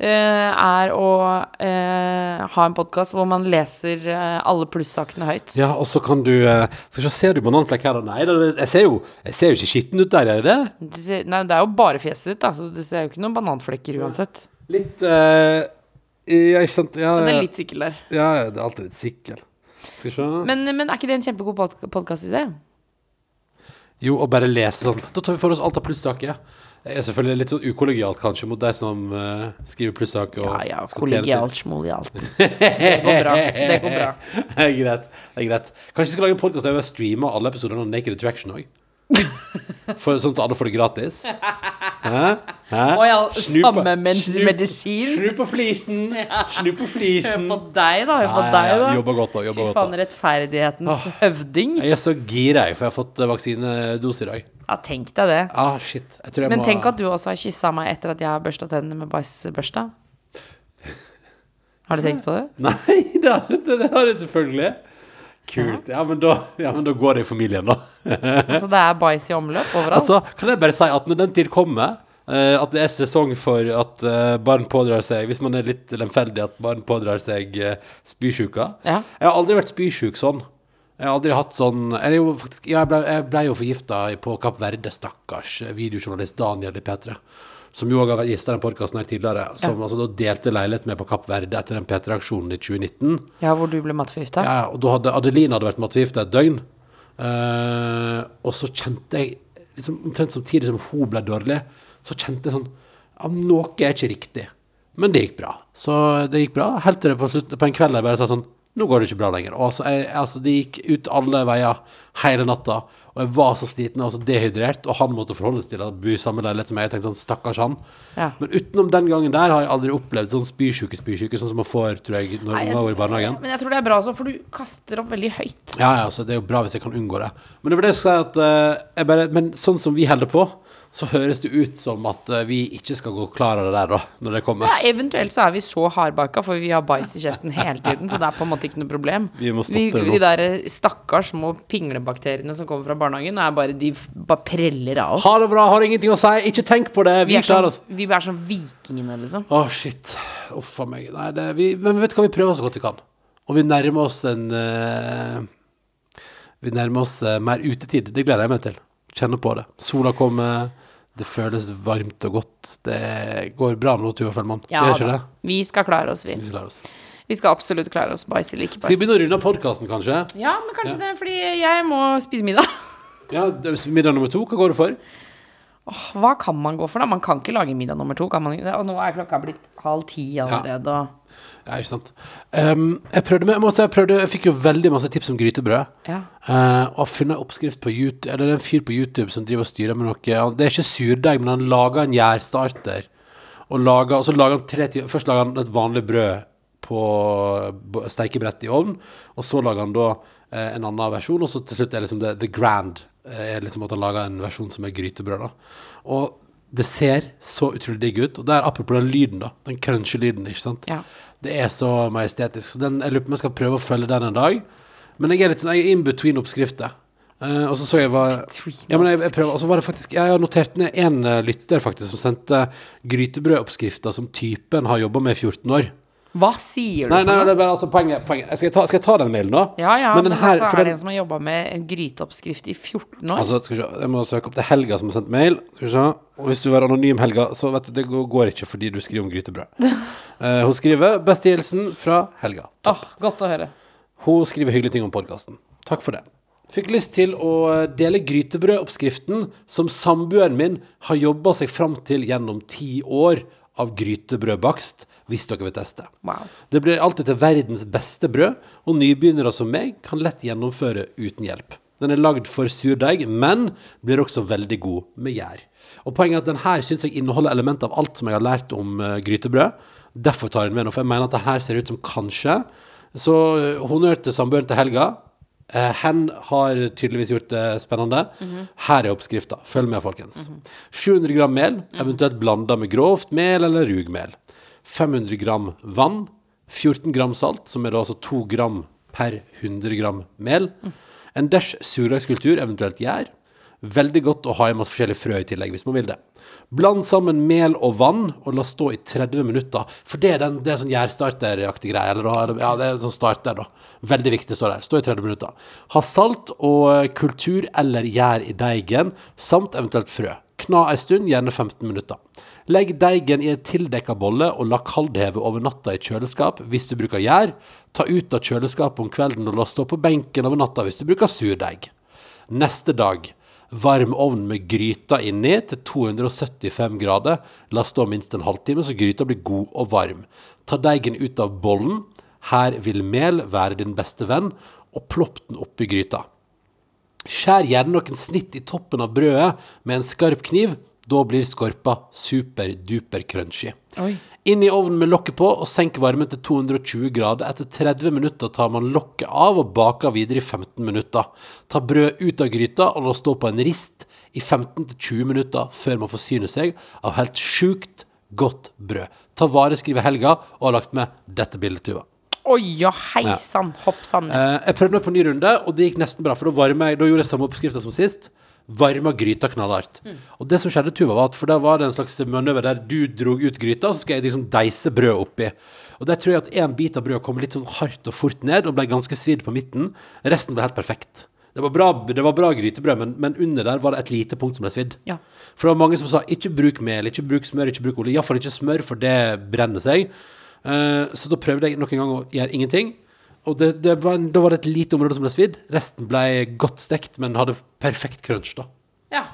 Speaker 4: eh, er å eh, ha en podkast hvor man leser eh, alle plussakene høyt.
Speaker 7: Ja, og så kan du eh, Skal vi se, ser du bananflekk her? da? Nei da, det- jeg ser jo, jeg ser jo ikke skitten ut der, gjør jeg det?
Speaker 4: Du ser, nei, det er jo bare fjeset ditt, da, så du ser jo ikke noen bananflekker uansett.
Speaker 7: Litt eh, Ja, ikke sant? Ja,
Speaker 4: Men det
Speaker 7: ja,
Speaker 4: er litt sikkel der.
Speaker 7: ja, ja, det er alltid litt sikkel. Skal vi se
Speaker 4: Men, men er ikke det en kjempegod podkast-idé?
Speaker 7: Jo, og bare lese sånn. Da tar vi for oss alt av plussaker. Det er selvfølgelig litt sånn ukollegialt, kanskje, mot de som eh, skriver plussak og
Speaker 4: Ja, ja,
Speaker 7: skal tjene til-
Speaker 4: kollegialt, smålialt. Det går bra. Det går bra.
Speaker 7: Det er greit. det er greit Kanskje vi skal lage en podkast der vi streamer alle episodene av Naked Attraction òg? Sånn at alle får det gratis?
Speaker 4: Å ja,
Speaker 7: Snu på-
Speaker 4: samme mens
Speaker 7: snu-
Speaker 4: medisin.
Speaker 7: Snu på flisen! Snu på
Speaker 4: Hør
Speaker 7: flisen!
Speaker 4: på deg, da. Hør på
Speaker 7: Ja,
Speaker 4: deg,
Speaker 7: ja, ja,
Speaker 4: da.
Speaker 7: Jobber godt, da.
Speaker 4: Fy
Speaker 7: Jobber godt,
Speaker 4: faen,
Speaker 7: da.
Speaker 4: rettferdighetens
Speaker 7: Ah.
Speaker 4: høvding.
Speaker 7: Jeg er så gira, jeg, for jeg har fått eh, vaksinedose i dag.
Speaker 4: Ja, tenk deg det.
Speaker 7: Ah, shit. Jeg tror jeg
Speaker 4: Men
Speaker 7: må
Speaker 4: tenk at du også har kyssa meg etter at jeg har børsta tennene med bæsjbørsta. Har du tenkt på det?
Speaker 7: Nei da, det, det har jeg selvfølgelig. Kult. Ja, men da, ja, men da går det i familien, da.
Speaker 4: Altså, det er bæsj i omløp overalt.
Speaker 7: Altså, kan jeg bare si at når den tid kommer eh, at det er sesong for at eh, barn pådrar seg Hvis man er litt lemfeldig, at barn pådrar seg uh, spysjuka.
Speaker 4: Ja.
Speaker 7: Jeg har aldri vært spysjuk sånn. Jeg har aldri hatt sånn Eller jo, faktisk ja, Jeg ble, jeg ble jo forgifta på Kapp Verde, stakkars eh, videojournalist Daniel i P3. Som jo òg har vært gjest i den podkasten her tidligere. Som altså da delte leilighet med på Kapp Verde etter den P3-aksjonen i 2019.
Speaker 4: ja, hvor du ble matforgifta.
Speaker 7: Ja, og da hadde Adeline hadde vært mattegift et døgn. Eh, og så kjente jeg liksom, Omtrent samtidig som hun ble dårlig, så kjente jeg sånn ja, Noe er ikke riktig. Men det gikk bra. Så det gikk bra. Helt til det på, slutt, på en kveld jeg bare sa sånn Nå går det ikke bra lenger. Og altså, jeg, altså, det gikk ut alle veier hele natta. Og jeg var så sliten og så dehydrert, og han måtte forholde seg til å bo i samme leilighet som meg. Jeg tenkte sånn, stakkars han.
Speaker 4: Ja.
Speaker 7: Men utenom den gangen der har jeg aldri opplevd sånn spysjuke-spysjuke, sånn som man får tror jeg, når
Speaker 4: Nei, jeg-
Speaker 7: unger går i barnehagen.
Speaker 4: Men jeg tror det er bra også, for du kaster opp veldig høyt.
Speaker 7: Ja, ja, så det er jo bra hvis jeg kan unngå det. Men det var det jeg skulle si at eh, jeg bare, Men sånn som vi holder på, så høres det ut som at eh, vi ikke skal gå klar av det der, da, når det kommer.
Speaker 4: Ja, eventuelt så er vi så hardbarka, for vi har bæsj i kjeften hele tiden, så det er på en måte ikke noe problem.
Speaker 7: Vi må stoppe det nå.
Speaker 4: De der stakkars små pinglebakteriene som kommer fra barnehagen, er bare, de f- bare preller av oss.
Speaker 7: Ha det bra, har ingenting å si, ikke tenk på det,
Speaker 4: vi,
Speaker 7: vi
Speaker 4: er sånn,
Speaker 7: klarer oss.
Speaker 4: vi er sånn vikingene, liksom.
Speaker 7: Å, shit. Uff a meg. Nei, det, vi, men vet du hva, vi prøver så godt vi kan. Og vi nærmer oss en eh, Vi nærmer oss eh, mer utetid. Det gleder jeg meg til. Kjenner på det. Sola kommer, det føles varmt og godt. Det går bra nå, Tuva Fellmann.
Speaker 4: Ja,
Speaker 7: det gjør ikke
Speaker 4: da.
Speaker 7: det?
Speaker 4: Vi skal klare oss, vi.
Speaker 7: Vi klarer oss.
Speaker 4: Vi skal absolutt klare oss, bæsj eller ikke
Speaker 7: Skal vi
Speaker 4: bæsj.
Speaker 7: begynne å runde av podkasten, kanskje?
Speaker 4: Ja, men kanskje det, fordi jeg må spise middag.
Speaker 7: Ja, det- Middag nummer to, hva går det for?
Speaker 4: Hva kan man gå for, da? Man kan ikke lage middag nummer to, kan man ikke det? Og nå er klokka blitt halv ti allerede, og
Speaker 7: Ja, ikke sant. Ehm, jeg prøvde med, jeg, må si, jeg, prøvde, jeg fikk jo veldig masse tips om grytebrød.
Speaker 4: Ja.
Speaker 7: Eh, og har funnet en oppskrift på YouTube, eller det er en fyr på YouTube som driver og styrer med noe han- Det er ikke surdeig, men han lager en gjærstarter. Og, lager, og så lager han tre timer Først lager han et vanlig brød på b- steikebrett i ovn. Og så lager han da eh, en annen versjon, og så til slutt er liksom det, the grand. eh, Er liksom at han lager en versjon som er grytebrød. da Og det ser så utrolig digg ut. Og det er apropos den lyden, da. Den crunchy-lyden, ikke sant.
Speaker 4: Ja.
Speaker 7: Det er så majestetisk. Så Den, jeg lurer på om jeg skal prøve å følge den en dag. Men jeg er litt sånn, jeg er in between oppskrifter. Eh, og så så jeg var
Speaker 4: Between
Speaker 7: ja, men jeg, jeg prøver, altså var det faktisk, jeg har notert ned en eh, lytter faktisk som sendte grytebrødoppskrifter som typen har jobba med i 14 år.
Speaker 4: Hva sier du
Speaker 7: Nei,
Speaker 4: for
Speaker 7: nei,
Speaker 4: noe?
Speaker 7: det er bare altså, poenget. poenget. Skal, jeg ta, skal jeg ta den mailen nå?
Speaker 4: Ja, ja,
Speaker 7: Men
Speaker 4: men,
Speaker 7: den her,
Speaker 4: altså,
Speaker 7: for
Speaker 4: er
Speaker 7: den-
Speaker 4: det en som har jobba med en gryteoppskrift i 14 år?
Speaker 7: Altså, skal vi se, jeg må søke opp til Helga som har sendt mail. Skal vi se. Og hvis du er anonym Helga, så vet du, det går- går ikke fordi du skriver om grytebrød. Eh, hun skriver 'Beste hilsen fra Helga'.
Speaker 4: Åh, godt å høre.
Speaker 7: Hun skriver hyggelige ting om podkasten. Takk for det. Fikk lyst til å eh, dele grytebrødoppskriften som samboeren min har jobba seg fram til gjennom ti år av grytebrødbakst, hvis dere vil teste.
Speaker 4: Wow.
Speaker 7: Det blir alltid til verdens beste brød, og nybegynnere som meg kan lett gjennomføre uten hjelp. Den er lagd for surdeig, men blir også veldig god med gjær. Og poenget er at den her syns jeg inneholder element av alt som jeg har lært om eh, grytebrød. Derfor tar jeg den med nå, for jeg mener at det her ser ut som kanskje. Så eh, honnør til samboeren til Helga. Eh, hen har tydeligvis gjort det spennende. Her er oppskrifta. Følg med, folkens. 700 gram mel, eventuelt blanda med grovt mel eller rugmel. 500 gram vann, 14 gram salt, som er da altså 2 gram per 100 gram mel. En dash surdeigskultur, eventuelt gjær. Veldig godt å ha i masse forskjellige frø i tillegg, hvis man vil det. Bland sammen mel og vann, og la stå i 30 minutter. For det er, den, det er sånn gjærstarteraktig greie. Eller, da- eller, ja, det er sånn starter, da. Veldig viktig står der. Stå i 30 minutter. Ha salt og eh, kultur eller gjær i deigen, samt eventuelt frø. Kna ei stund, gjerne 15 minutter. Legg deigen i en tildekka bolle og la kaldheve over natta i kjøleskap hvis du bruker gjær. Ta ut av kjøleskapet om kvelden og la stå på benken over natta hvis du bruker surdeig. Neste dag. varm ovn med gryta inni til 275 grader. La stå minst en halvtime, så gryta blir god og varm. Ta deigen ut av bollen. Her vil mel være din beste venn, og plopp den oppi gryta. Skjær gjerne noen snitt i toppen av brødet med en skarp kniv. Da blir skorpa superduper crunchy.
Speaker 4: Oi.
Speaker 7: Inn i ovnen med lokket på og senk varmen til 220 grader. Etter 30 minutter tar man lokket av og baker videre i 15 minutter. Ta brødet ut av gryta og la stå på en rist i 15-20 minutter før man forsyner seg av helt sjukt godt brød. Ta vare, skriver Helga, og har lagt med dette bildet, Tuva.
Speaker 4: Oi, ja, hei sann, hopp sann.
Speaker 7: Eh, jeg prøvde meg på en ny runde, og det gikk nesten bra. For da, varma jeg, da gjorde jeg samme oppskrifta som sist. Varma gryta knallhardt. Og det som skjedde, Tuva, var at for der var det en slags manøver der du dro ut gryta, så skal jeg liksom deise brødet oppi. Og der tror jeg at en bit av brødet kom litt sånn hardt og fort ned, og ble ganske svidd på midten. Resten ble helt perfekt. Det var bra, det var bra grytebrød, men, men under der var det et lite punkt som ble svidd.
Speaker 4: Ja.
Speaker 7: For det var mange som sa ikke bruk mel, ikke bruk smør, ikke bruk olje. Iallfall ikke smør, for det brenner seg. Eh, så da prøvde jeg nok en gang å gjøre ingenting. Og det, det var, da var det et lite område som ble svidd. Resten ble godt stekt, men hadde perfekt crunch, da.
Speaker 4: Ja.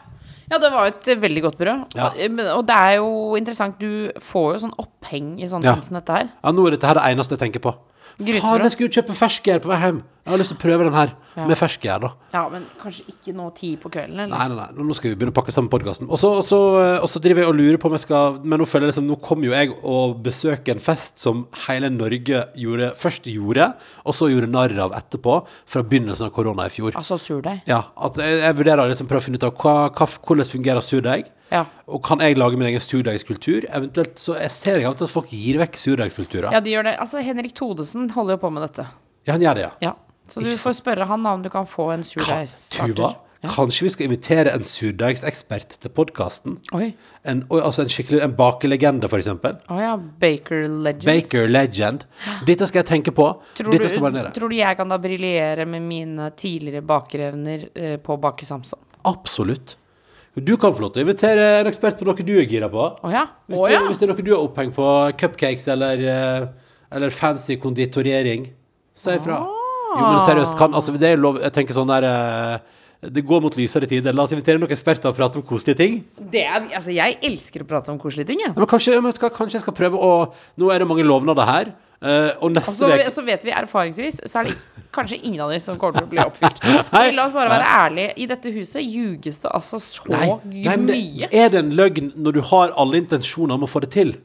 Speaker 4: ja, det var jo et veldig godt brød.
Speaker 7: Ja.
Speaker 4: Og, men- og det er jo interessant, du får jo sånn oppheng i sånne
Speaker 7: Ja.
Speaker 4: ting som dette her.
Speaker 7: Ja, nå er dette her det eneste jeg tenker på.
Speaker 4: Grytebrød.
Speaker 7: Faen, jeg skulle jo kjøpe ferskgjær på vei hjem. Jeg har lyst til å prøve den her,
Speaker 4: Ja.
Speaker 7: med ferskgjær, da.
Speaker 4: Ja, men kanskje ikke nå ti på kvelden, eller?
Speaker 7: Nei, nei, nei, nå skal vi begynne å pakke sammen podkasten. Og så og så- og så driver jeg og lurer på om jeg skal Men nå føler jeg liksom, nå kommer jo jeg og besøker en fest som hele Norge gjorde, først gjorde, og så gjorde narr av etterpå, fra begynnelsen av korona i fjor.
Speaker 4: Altså surdeig.
Speaker 7: Ja, at jeg, jeg vurderer liksom prøve å finne ut av hva, hva, hvordan fungerer surdeig.
Speaker 4: Ja.
Speaker 7: Og kan jeg lage min egen surdeigskultur? Eventuelt så jeg ser jeg av og til at folk gir vekk surdeigskulturer.
Speaker 4: ja, de gjør det. Altså, Henrik Todesen holder jo på med dette.
Speaker 7: Ja, han gjør det, ja.
Speaker 4: Ja. Så du får spørre han da om du kan få en
Speaker 7: Ka- Tuva,
Speaker 4: surdeigstarter. Ja.
Speaker 7: kanskje vi skal invitere en surdeigsekspert til podkasten?
Speaker 4: Oi.
Speaker 7: En, oi, altså en skikkelig en bakelegende, for eksempel.
Speaker 4: Å ja, Baker Legend.
Speaker 7: Baker legend. Dette skal jeg tenke på.
Speaker 4: Tror
Speaker 7: Dette skal være
Speaker 4: du,
Speaker 7: nede.
Speaker 4: tror du jeg kan da briljere med mine tidligere bakerevner eh, på å bake Samson?
Speaker 7: Absolutt. Du kan få lov til å invitere en ekspert på noe du er gira på.
Speaker 4: Å ja.
Speaker 7: Hvis,
Speaker 4: Å
Speaker 7: du,
Speaker 4: ja.
Speaker 7: hvis det er noe du har opphengt på, cupcakes eller, eh, eller fancy konditorering, si ifra.
Speaker 4: Ah.
Speaker 7: Jo, men seriøst, kan, altså, det er jo lov, jeg tenker sånn der eh, Det går mot lysere tider. La oss invitere noen eksperter og prate om koselige ting.
Speaker 4: Det er, altså, jeg elsker å prate om koselige ting, jeg.
Speaker 7: Ja, men kanskje, ja, men skal, kanskje jeg skal prøve å Nå er det mange lovnader her. eh, og
Speaker 4: Og
Speaker 7: neste
Speaker 4: så,
Speaker 7: uke
Speaker 4: så vet Altså, vi erfaringsvis, så er det kanskje ingen av de som kommer til å bli oppfylt.
Speaker 7: Nei.
Speaker 4: Men la oss bare være ærlige. I dette huset ljuges det altså så
Speaker 7: Nei, nei, men det,
Speaker 4: mye.
Speaker 7: er det en løgn når du har alle intensjoner om å få det til?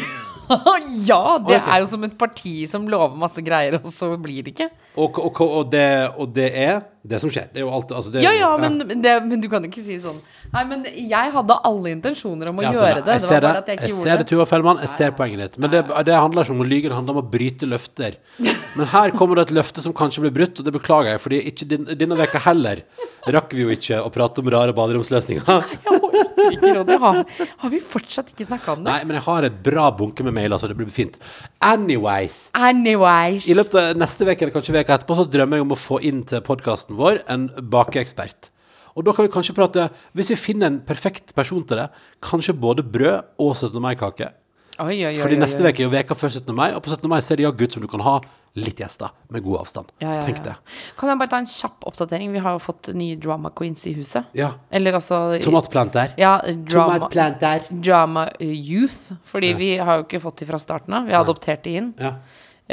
Speaker 4: ja, det
Speaker 7: Ok.
Speaker 4: er jo som et parti som lover masse greier, og så blir det ikke.
Speaker 7: Og, og, og, og, det, og det er det som skjer. Det er jo alt altså, det, er
Speaker 4: Ja
Speaker 7: jo-
Speaker 4: ja, men, men det, men du kan jo ikke si sånn Nei, men jeg hadde alle intensjoner om å
Speaker 7: Ja, sånn,
Speaker 4: gjøre
Speaker 7: ja.
Speaker 4: det.
Speaker 7: Jeg
Speaker 4: Det
Speaker 7: ser
Speaker 4: var bare at jeg ikke
Speaker 7: Jeg
Speaker 4: gjorde
Speaker 7: ser det,
Speaker 4: det.
Speaker 7: Tuva Fellmann. Jeg ser poenget ditt. Men det, det handler ikke om å lyge, det handler om å bryte løfter. Men her kommer det et løfte som kanskje ble brutt, og det beklager jeg, fordi ikke din, denne veka heller rakk vi jo ikke å prate om rare baderomsløsninger.
Speaker 4: Jeg orker ikke, Ronny. Har, har vi fortsatt ikke snakka om det?
Speaker 7: Nei, men jeg har et bra bunke med mailer, så det blir fint. Anyways.
Speaker 4: Anyways.
Speaker 7: I løpet av neste veke eller kanskje veka etterpå så drømmer jeg om å få inn til podkasten vår en bakeekspert. Og da kan vi kanskje prate, hvis vi finner en perfekt person til det, kanskje både brød og 17. mai-kake.
Speaker 4: Oi, oi, oi,
Speaker 7: Fordi
Speaker 4: oi,
Speaker 7: neste
Speaker 4: oi.
Speaker 7: veke er jo veka før 17. mai, og på 17. mai så er det jaggu ut som du kan ha litt gjester med god avstand.
Speaker 4: Ja, ja,
Speaker 7: Tenk
Speaker 4: ja.
Speaker 7: det.
Speaker 4: Kan jeg bare ta en kjapp oppdatering? Vi har jo fått nye drama queens i huset.
Speaker 7: Ja.
Speaker 4: Eller altså
Speaker 7: Tomatplanter.
Speaker 4: Ja, drama,
Speaker 7: Tomatplanter.
Speaker 4: drama youth. Fordi vi har jo ikke fått de fra starten av. Vi har adoptert de inn.
Speaker 7: Ja.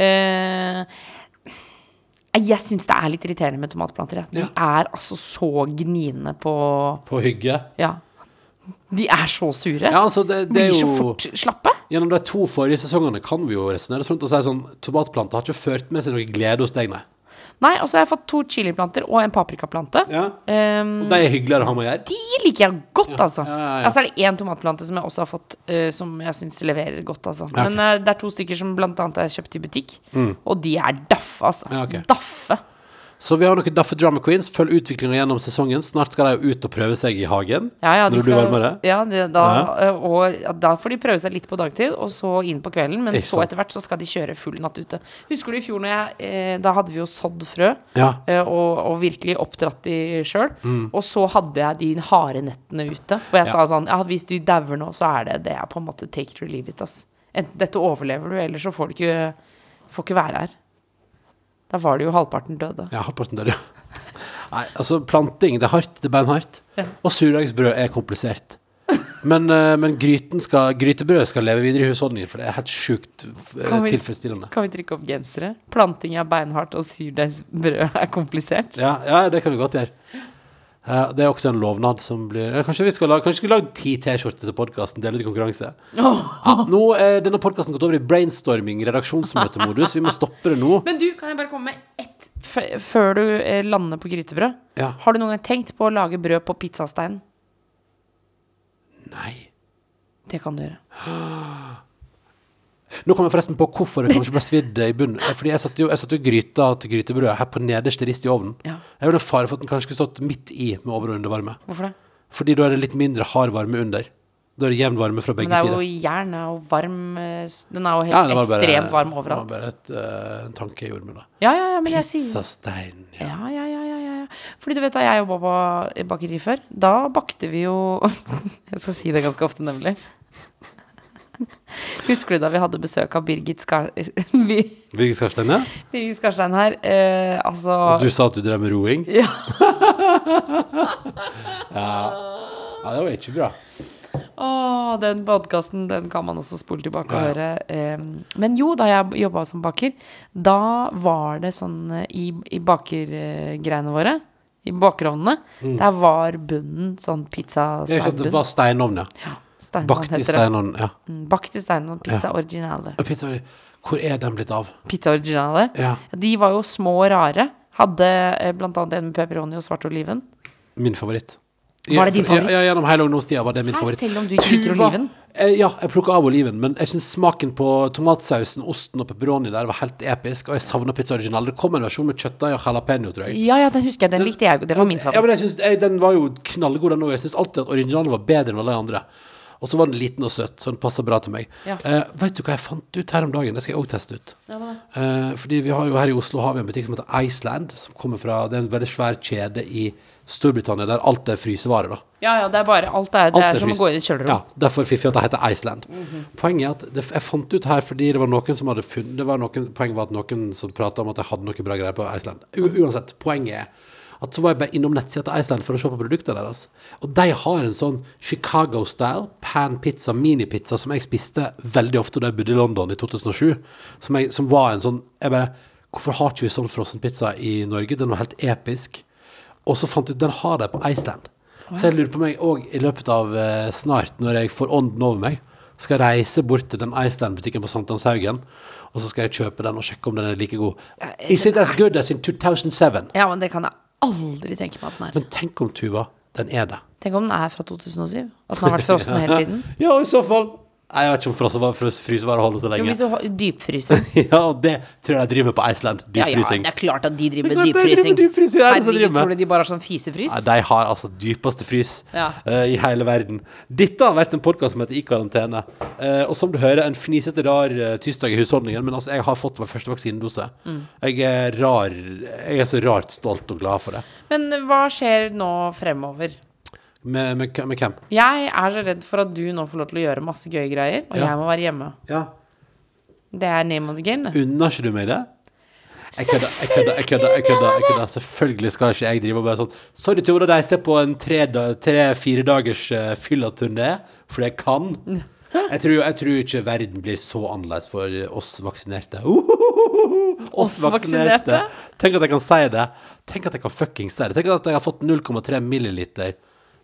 Speaker 4: Eh, jeg syns det er litt irriterende med tomatplanter. jeg. De
Speaker 7: Ja.
Speaker 4: er altså så gniende på
Speaker 7: På hygge.
Speaker 4: Ja. De er så sure.
Speaker 7: Ja, altså, det,
Speaker 4: Blir
Speaker 7: det er
Speaker 4: så
Speaker 7: jo
Speaker 4: fort slappe.
Speaker 7: Gjennom de to forrige sesongene kan vi jo resonnere rundt og si sånn Tomatplanter har ikke ført med seg noe glede hos deg, nei.
Speaker 4: Nei, og så har jeg fått to chiliplanter og en paprikaplante.
Speaker 7: Ja.
Speaker 4: Ehm,
Speaker 7: De er hyggeligere å ha med å gjøre.
Speaker 4: De liker jeg godt, altså.
Speaker 7: ja, ja, ja.
Speaker 4: Ja, så er det én tomatplante som jeg også har fått, eh, som jeg syns leverer godt, altså.
Speaker 7: Ja, ok. Mm.
Speaker 4: Men eh, det er to stykker som blant annet er kjøpt i butikk, og de er daffe, altså.
Speaker 7: Ja, ok.
Speaker 4: Daffe.
Speaker 7: Så vi har noen Daffe Drama Queens. Følg utviklinga gjennom sesongen. Snart skal de jo ut og prøve seg i hagen.
Speaker 4: Ja, ja, de
Speaker 7: når det blir varmere.
Speaker 4: ja, det- da, eh, og ja, da får de prøve seg litt på dagtid, og så inn på kvelden. Men
Speaker 7: Ikke
Speaker 4: så
Speaker 7: sant.
Speaker 4: etter hvert så skal de kjøre full natt ute. Husker du i fjor når jeg eh, Da hadde vi jo sådd frø.
Speaker 7: Ja. Mm.
Speaker 4: eh, Og, og virkelig oppdratt de sjøl. Og så hadde jeg de harde nettene ute. Og jeg sa sånn ja, Hvis du dauer nå, så er det det er på en måte take it or leave it. Ass. Enten dette overlever du, eller så får du ikke, får ikke være her. Da var det jo halvparten døde.
Speaker 7: Ja, halvparten dør, ja. Nei, altså planting, det er hardt, det er beinhardt. Og surdeigsbrød er komplisert. Men, eh, men gryten skal, grytebrødet skal leve videre i husholdningen, for det er helt sjukt f- eh,
Speaker 4: Kan vi-
Speaker 7: tilfredsstillende.
Speaker 4: Kan vi trykke opp gensere? Planting er beinhardt, og surdeigsbrød er komplisert.
Speaker 7: Ja, ja, det kan vi godt gjøre. Eh, Det er også en lovnad som blir eh, Kanskje vi skal lage, kanskje vi skulle lage ti T-skjorter til podkasten, dele ut i konkurranse. Ja, nå er denne podkasten gått over i brainstorming, redaksjonsmøtemodus. Vi må stoppe det nå.
Speaker 4: Men du, kan jeg bare komme med ett f før du eh, lander på grytebrød?
Speaker 7: Ja.
Speaker 4: Har du noen gang tenkt på å lage brød på pizzastein?
Speaker 7: Nei.
Speaker 4: Det kan du gjøre.
Speaker 7: Nå kom jeg forresten på hvorfor det kanskje ble svidd i bunnen. Eh, Fordi jeg satte jo, jeg satte jo gryta til grytebrødet her på nederste rist i ovnen.
Speaker 4: Ja.
Speaker 7: Jeg ville fare for at den kanskje skulle stått midt i med over- og undervarme.
Speaker 4: Hvorfor det?
Speaker 7: Fordi da er det litt mindre hard varme under. Da er det jevn varme fra
Speaker 4: Men
Speaker 7: begge
Speaker 4: det er jo
Speaker 7: sider.
Speaker 4: jern, det er jo varm eh, s- Den er jo
Speaker 7: Ja,
Speaker 4: helt
Speaker 7: det var bare-
Speaker 4: ekstremt varm
Speaker 7: Det
Speaker 4: overalt.
Speaker 7: var bare et, eh, en tanke jeg gjorde med det.
Speaker 4: Ja, ja, ja, men jeg sier
Speaker 7: Pizzastein. Ja.
Speaker 4: ja, ja, ja, ja, ja, ja. Fordi du vet da jeg jobba på eh, bakeri før, da bakte vi jo Jeg skal si det ganske ofte, nemlig. Husker du da vi hadde besøk av Birgit, Skar... Bir-
Speaker 7: Birgit Skarstein, ja.
Speaker 4: Birgit Skarstein her? Eh, altså
Speaker 7: Og du sa at du drev med roing?
Speaker 4: Ja.
Speaker 7: Ja, det var ikke bra.
Speaker 4: Å, den podkasten, den kan man også spole tilbake og høre. Em, Men jo, da jeg jobba som baker, da var det sånn eh, i, i bakergreiene våre, i bakerovnene, der var bunnen sånn
Speaker 7: Mm. Jeg skjønte det
Speaker 4: pizzasteinbunn.
Speaker 7: var steinovn, ja.
Speaker 4: Steinovn
Speaker 7: Bakt i
Speaker 4: heter det.
Speaker 7: steinovn, ja.
Speaker 4: Mm, Bakt i steinovn. Pizza originale.
Speaker 7: Og Pizza, hvor er den blitt av?
Speaker 4: Pizza originale.
Speaker 7: Ja.
Speaker 4: De var jo små og rare. Hadde eh, blant annet en med pepperoni og svartoliven.
Speaker 7: Min favoritt.
Speaker 4: Var det din favoritt?
Speaker 7: Ja, ja, gjennom hele ungdomstida var det min
Speaker 4: Hæ,
Speaker 7: favoritt.
Speaker 4: selv om du ikke liker
Speaker 7: Tuva-
Speaker 4: oliven?
Speaker 7: Eh, ja, jeg plukka av oliven, men jeg syns smaken på tomatsausen, osten og pepperoni der var helt episk, og jeg savna pizza original. Det kom en versjon med kjøttdeig og jalapeño, tror jeg.
Speaker 4: Ja, ja, den husker jeg. Den likte jeg. Det var min
Speaker 7: Ja,
Speaker 4: favoritt.
Speaker 7: men jeg synes, jeg, Den var jo knallgod, den òg. Jeg syns alltid at originalen var bedre enn alle de andre. Og så var den liten og søt, så den passa bra til meg.
Speaker 4: Ja.
Speaker 7: Eh, vet du hva jeg fant ut her om dagen? Det skal jeg òg teste ut. Eh, fordi vi har jo her i Oslo har vi en butikk som heter Iceland, som kommer fra Det er en veldig svær kjede i Storbritannia der alt er frysevare, da.
Speaker 4: Ja, ja, det er bare Alt er, det
Speaker 7: Alt
Speaker 4: er som å
Speaker 7: frys.
Speaker 4: gå inn i et kjølerom.
Speaker 7: Ja, derfor fiffig at det heter Iceland. Poenget er at det, jeg fant ut her fordi det var noen som hadde funnet det var noen, Poenget var at noen som prata om at jeg hadde noe bra greier på Iceland. U
Speaker 4: Mm.
Speaker 7: uansett, poenget er at så var jeg bare innom nettsida til Iceland for å se på produktene deres. Og de har en sånn Chicago-style pan-pizza, minipizza, som jeg spiste veldig ofte da jeg bodde i London i 2007. Som, jeg, som var en sånn Jeg bare Hvorfor har ikke vi sånn frossenpizza i Norge? Den var helt episk. Og så fant jeg ut den har de på Iceland. Så jeg lurer på meg òg i løpet av eh, snart, når jeg får ånden over meg, skal reise bort til den Iceland-butikken på Sankthanshaugen, og så skal jeg kjøpe den og sjekke om den er like god.
Speaker 4: eh,
Speaker 7: Is it as good as in 2007?
Speaker 4: Ja, men det kan jeg aldri tenke meg at den er.
Speaker 7: Men tenk om, Tuva, den er det.
Speaker 4: Tenk om den er fra 2007? At den har vært frossen hele tiden?
Speaker 7: Ja, i så fall. Nei, Jeg vet ikke om frossevar- frys- frysevare holder så
Speaker 4: Jo,
Speaker 7: lenge.
Speaker 4: hvis du har- dypfryser.
Speaker 7: Ja, og det tror jeg de driver med på Iceland.
Speaker 4: Ja, ja,
Speaker 7: Dypfrysing.
Speaker 4: det er klart at de driver
Speaker 7: Det
Speaker 4: med
Speaker 7: er klart de driver
Speaker 4: dypfrysing.
Speaker 7: dypfrysing, det er det som driver
Speaker 4: Herregud,
Speaker 7: med.
Speaker 4: tror du de bare har sånn fisefrys?
Speaker 7: Nei, de har altså dypeste frys
Speaker 4: Ja.
Speaker 7: eh, i hele verden. Dette har vært en podkast som heter I karantene. Eh, og som du hører, en fnisete rar eh, tirsdag i husholdningen, men altså, jeg har fått vår første vaksinedose. Jeg er rar Jeg er så rart stolt og glad for det.
Speaker 4: Men hva skjer nå fremover?
Speaker 7: Med, med, hvem- med hvem?
Speaker 4: Jeg er så redd for at du nå får lov til å gjøre masse gøye greier, og
Speaker 7: Ja.
Speaker 4: jeg må være hjemme.
Speaker 7: Ja.
Speaker 4: Det er name of the game, det.
Speaker 7: Unner ikke du meg det? Jeg kødder, jeg kødder, jeg kødder. jeg kødder, jeg kødder. Selvfølgelig skal ikke jeg drive og bare sånn Sorry, Tore, de ser på en tre-fire dagers eh, fyllaturné fordi jeg kan. Jeg tror, jeg tror ikke verden blir så annerledes for oss vaksinerte. Uhuhuhu! Oss
Speaker 4: Oss vaksinerte.
Speaker 7: vaksinerte. Tenk at jeg kan si det. Tenk at jeg kan fuckings si det. Tenk at jeg har fått 0,3 milliliter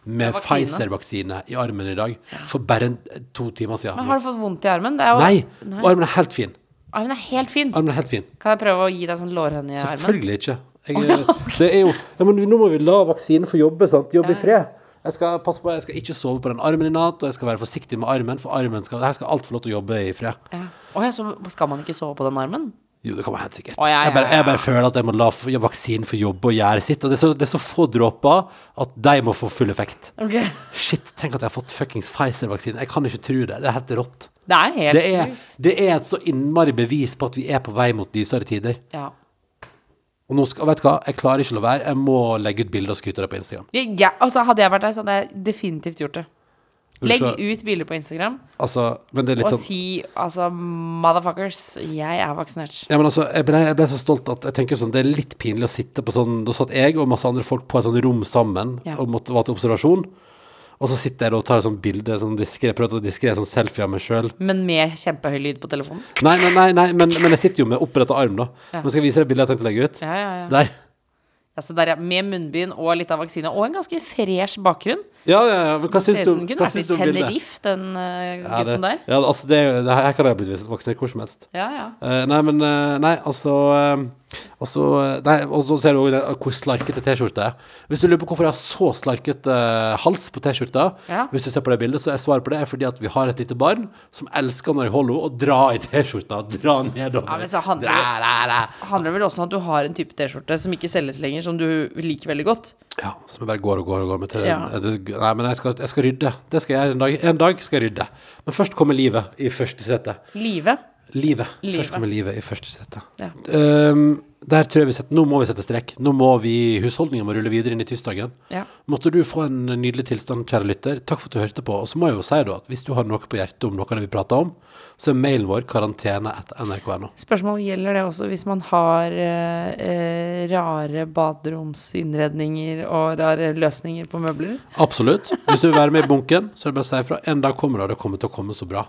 Speaker 7: med
Speaker 4: Vaksine.
Speaker 7: Pfizer-vaksine i armen i dag for bare en, eh, to timer siden.
Speaker 4: Men har du fått vondt i armen? Det er jo,
Speaker 7: Nei,
Speaker 4: Nei.
Speaker 7: armen er helt fin.
Speaker 4: Armen er helt fin.
Speaker 7: Armen er helt fin.
Speaker 4: Kan jeg prøve å gi deg sånn lårhøne i armen?
Speaker 7: Selvfølgelig ikke. Jeg, eh, det er jo, ja, men nå må vi la vaksinen få jobbe, sant? Jobbe i fred. Jeg skal passe på, jeg skal ikke sove på den armen i natt, og jeg skal være forsiktig med armen, for armen skal, her skal alt få lov til å jobbe i fred.
Speaker 4: Ja. Å ja, så skal man ikke sove på den armen?
Speaker 7: Jo, det kan være helt sikkert.
Speaker 4: Å, ja, ja,
Speaker 7: Jeg, bare, jeg
Speaker 4: ja.
Speaker 7: bare føler at jeg må la f- ja, vaksinen få jobbe og gjøre sitt, og det er, så, det er så få dråper at de må få full effekt.
Speaker 4: Ok.
Speaker 7: Shit, tenk at jeg har fått fuckings Pfizer-vaksinen. Jeg kan ikke tro det. Det er helt rått.
Speaker 4: Det er helt
Speaker 7: Det er,
Speaker 4: sjukt.
Speaker 7: det er et så innmari bevis på at vi er på vei mot lysere tider.
Speaker 4: Ja.
Speaker 7: Og nå skal, vet du hva, jeg klarer ikke å la være. Jeg må legge ut bilder og skryte av det på Instagram.
Speaker 4: Ja, ja, altså, hadde jeg vært der, så hadde jeg definitivt gjort det.
Speaker 7: Vil
Speaker 4: Legg
Speaker 7: du se-
Speaker 4: ut bilder på Instagram
Speaker 7: Altså, men det er
Speaker 4: og
Speaker 7: litt sånn
Speaker 4: si altså Motherfuckers, jeg er vaksinert.
Speaker 7: Ja, men altså, jeg ble, jeg ble så stolt at jeg tenker sånn, det er litt pinlig å sitte på sånn Da satt jeg og masse andre folk på et sånt rom sammen
Speaker 4: Ja.
Speaker 7: og måtte være til observasjon. Og så sitter jeg da og tar et sånt bilde, sånn diskret, prøver å ta diskret sånn selfie av meg sjøl.
Speaker 4: Men med kjempehøy lyd på telefonen.
Speaker 7: Nei, nei, nei, nei men, men jeg sitter jo med oppretta arm, da.
Speaker 4: Ja.
Speaker 7: Men skal jeg vise deg bildet jeg tenkte å legge ut?
Speaker 4: Ja, ja, ja.
Speaker 7: Der.
Speaker 4: Ja, se der, ja. Med munnbind og litt av vaksine. Og en ganske fresh bakgrunn.
Speaker 7: Ja, ja, ja. Men hva
Speaker 4: Ser
Speaker 7: syns
Speaker 4: ut
Speaker 7: du,
Speaker 4: som den kunne
Speaker 7: hva
Speaker 4: vært i
Speaker 7: syns du om bildet?
Speaker 4: Tenerife, den eh,
Speaker 7: Ja, det,
Speaker 4: gutten der.
Speaker 7: ja, altså, det, er jo- det her kan jeg ha blitt vaksinert hvor som helst.
Speaker 4: Ja, ja.
Speaker 7: Eh, nei, men eh, Nei, altså eh, Og så eh, nei, og så ser du òg hvor slarkete T-skjorte er. Hvis du lurer på hvorfor jeg har så slarket eh, hals på T-skjorta,
Speaker 4: Ja.
Speaker 7: Hvis du ser på det bildet, så er svaret på det er fordi at vi har et lite barn som elsker når jeg holder henne, å dra i T-skjorta. Dra nedover.
Speaker 4: Ja, men så handler
Speaker 7: Dra, dra, dra.
Speaker 4: handler vel også om at du har en type T-skjorte som ikke selges lenger, som du liker veldig godt.
Speaker 7: Ja, som jeg bare går og går og går med til
Speaker 4: Ja.
Speaker 7: Eh, det- Nei, men jeg skal, jeg skal rydde. Det skal jeg gjøre en dag. En dag skal jeg rydde. Men først kommer livet i første sete.
Speaker 4: Live.
Speaker 7: Livet.
Speaker 4: Livet.
Speaker 7: Først kommer livet i første sete.
Speaker 4: Ja.
Speaker 7: Ehm, der tror jeg vi setter, nå må vi sette strek. Nå må vi, Husholdningen må rulle videre inn i tirsdagen.
Speaker 4: Ja.
Speaker 7: Måtte du få en nydelig tilstand, kjære lytter. Takk for at du hørte på. Og så må jeg jo si da, at hvis du har noe på hjertet om noe av det vi prater om, så er mailen vår karantene.nrk.no.
Speaker 4: Spørsmålet gjelder det også hvis man har eh, eh, rare baderomsinnredninger og rare løsninger på møbler.
Speaker 7: Absolutt. Hvis du vil være med i bunken, så er det bare å si ifra. En dag kommer det, og det kommer til å komme så bra.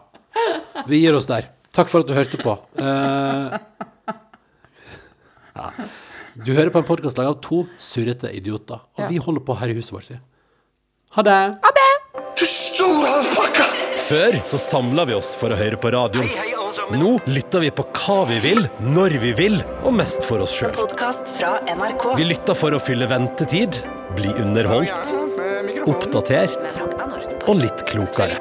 Speaker 7: Vi gir oss der. Takk for at du hørte på. Eh, ja. Du hører på en podkast laget av to surrete idioter, og vi holder på her i huset vårt, vi. Ha det!
Speaker 3: Før så samla vi oss for å høre på radioen. Nå lytter vi på hva vi vil, når vi vil, og mest for oss sjøl.
Speaker 8: Podkast fra NRK.
Speaker 3: Vi lytter for å fylle ventetid, bli underholdt, oppdatert
Speaker 8: Frakt av Nordenborg.
Speaker 3: og litt klokere.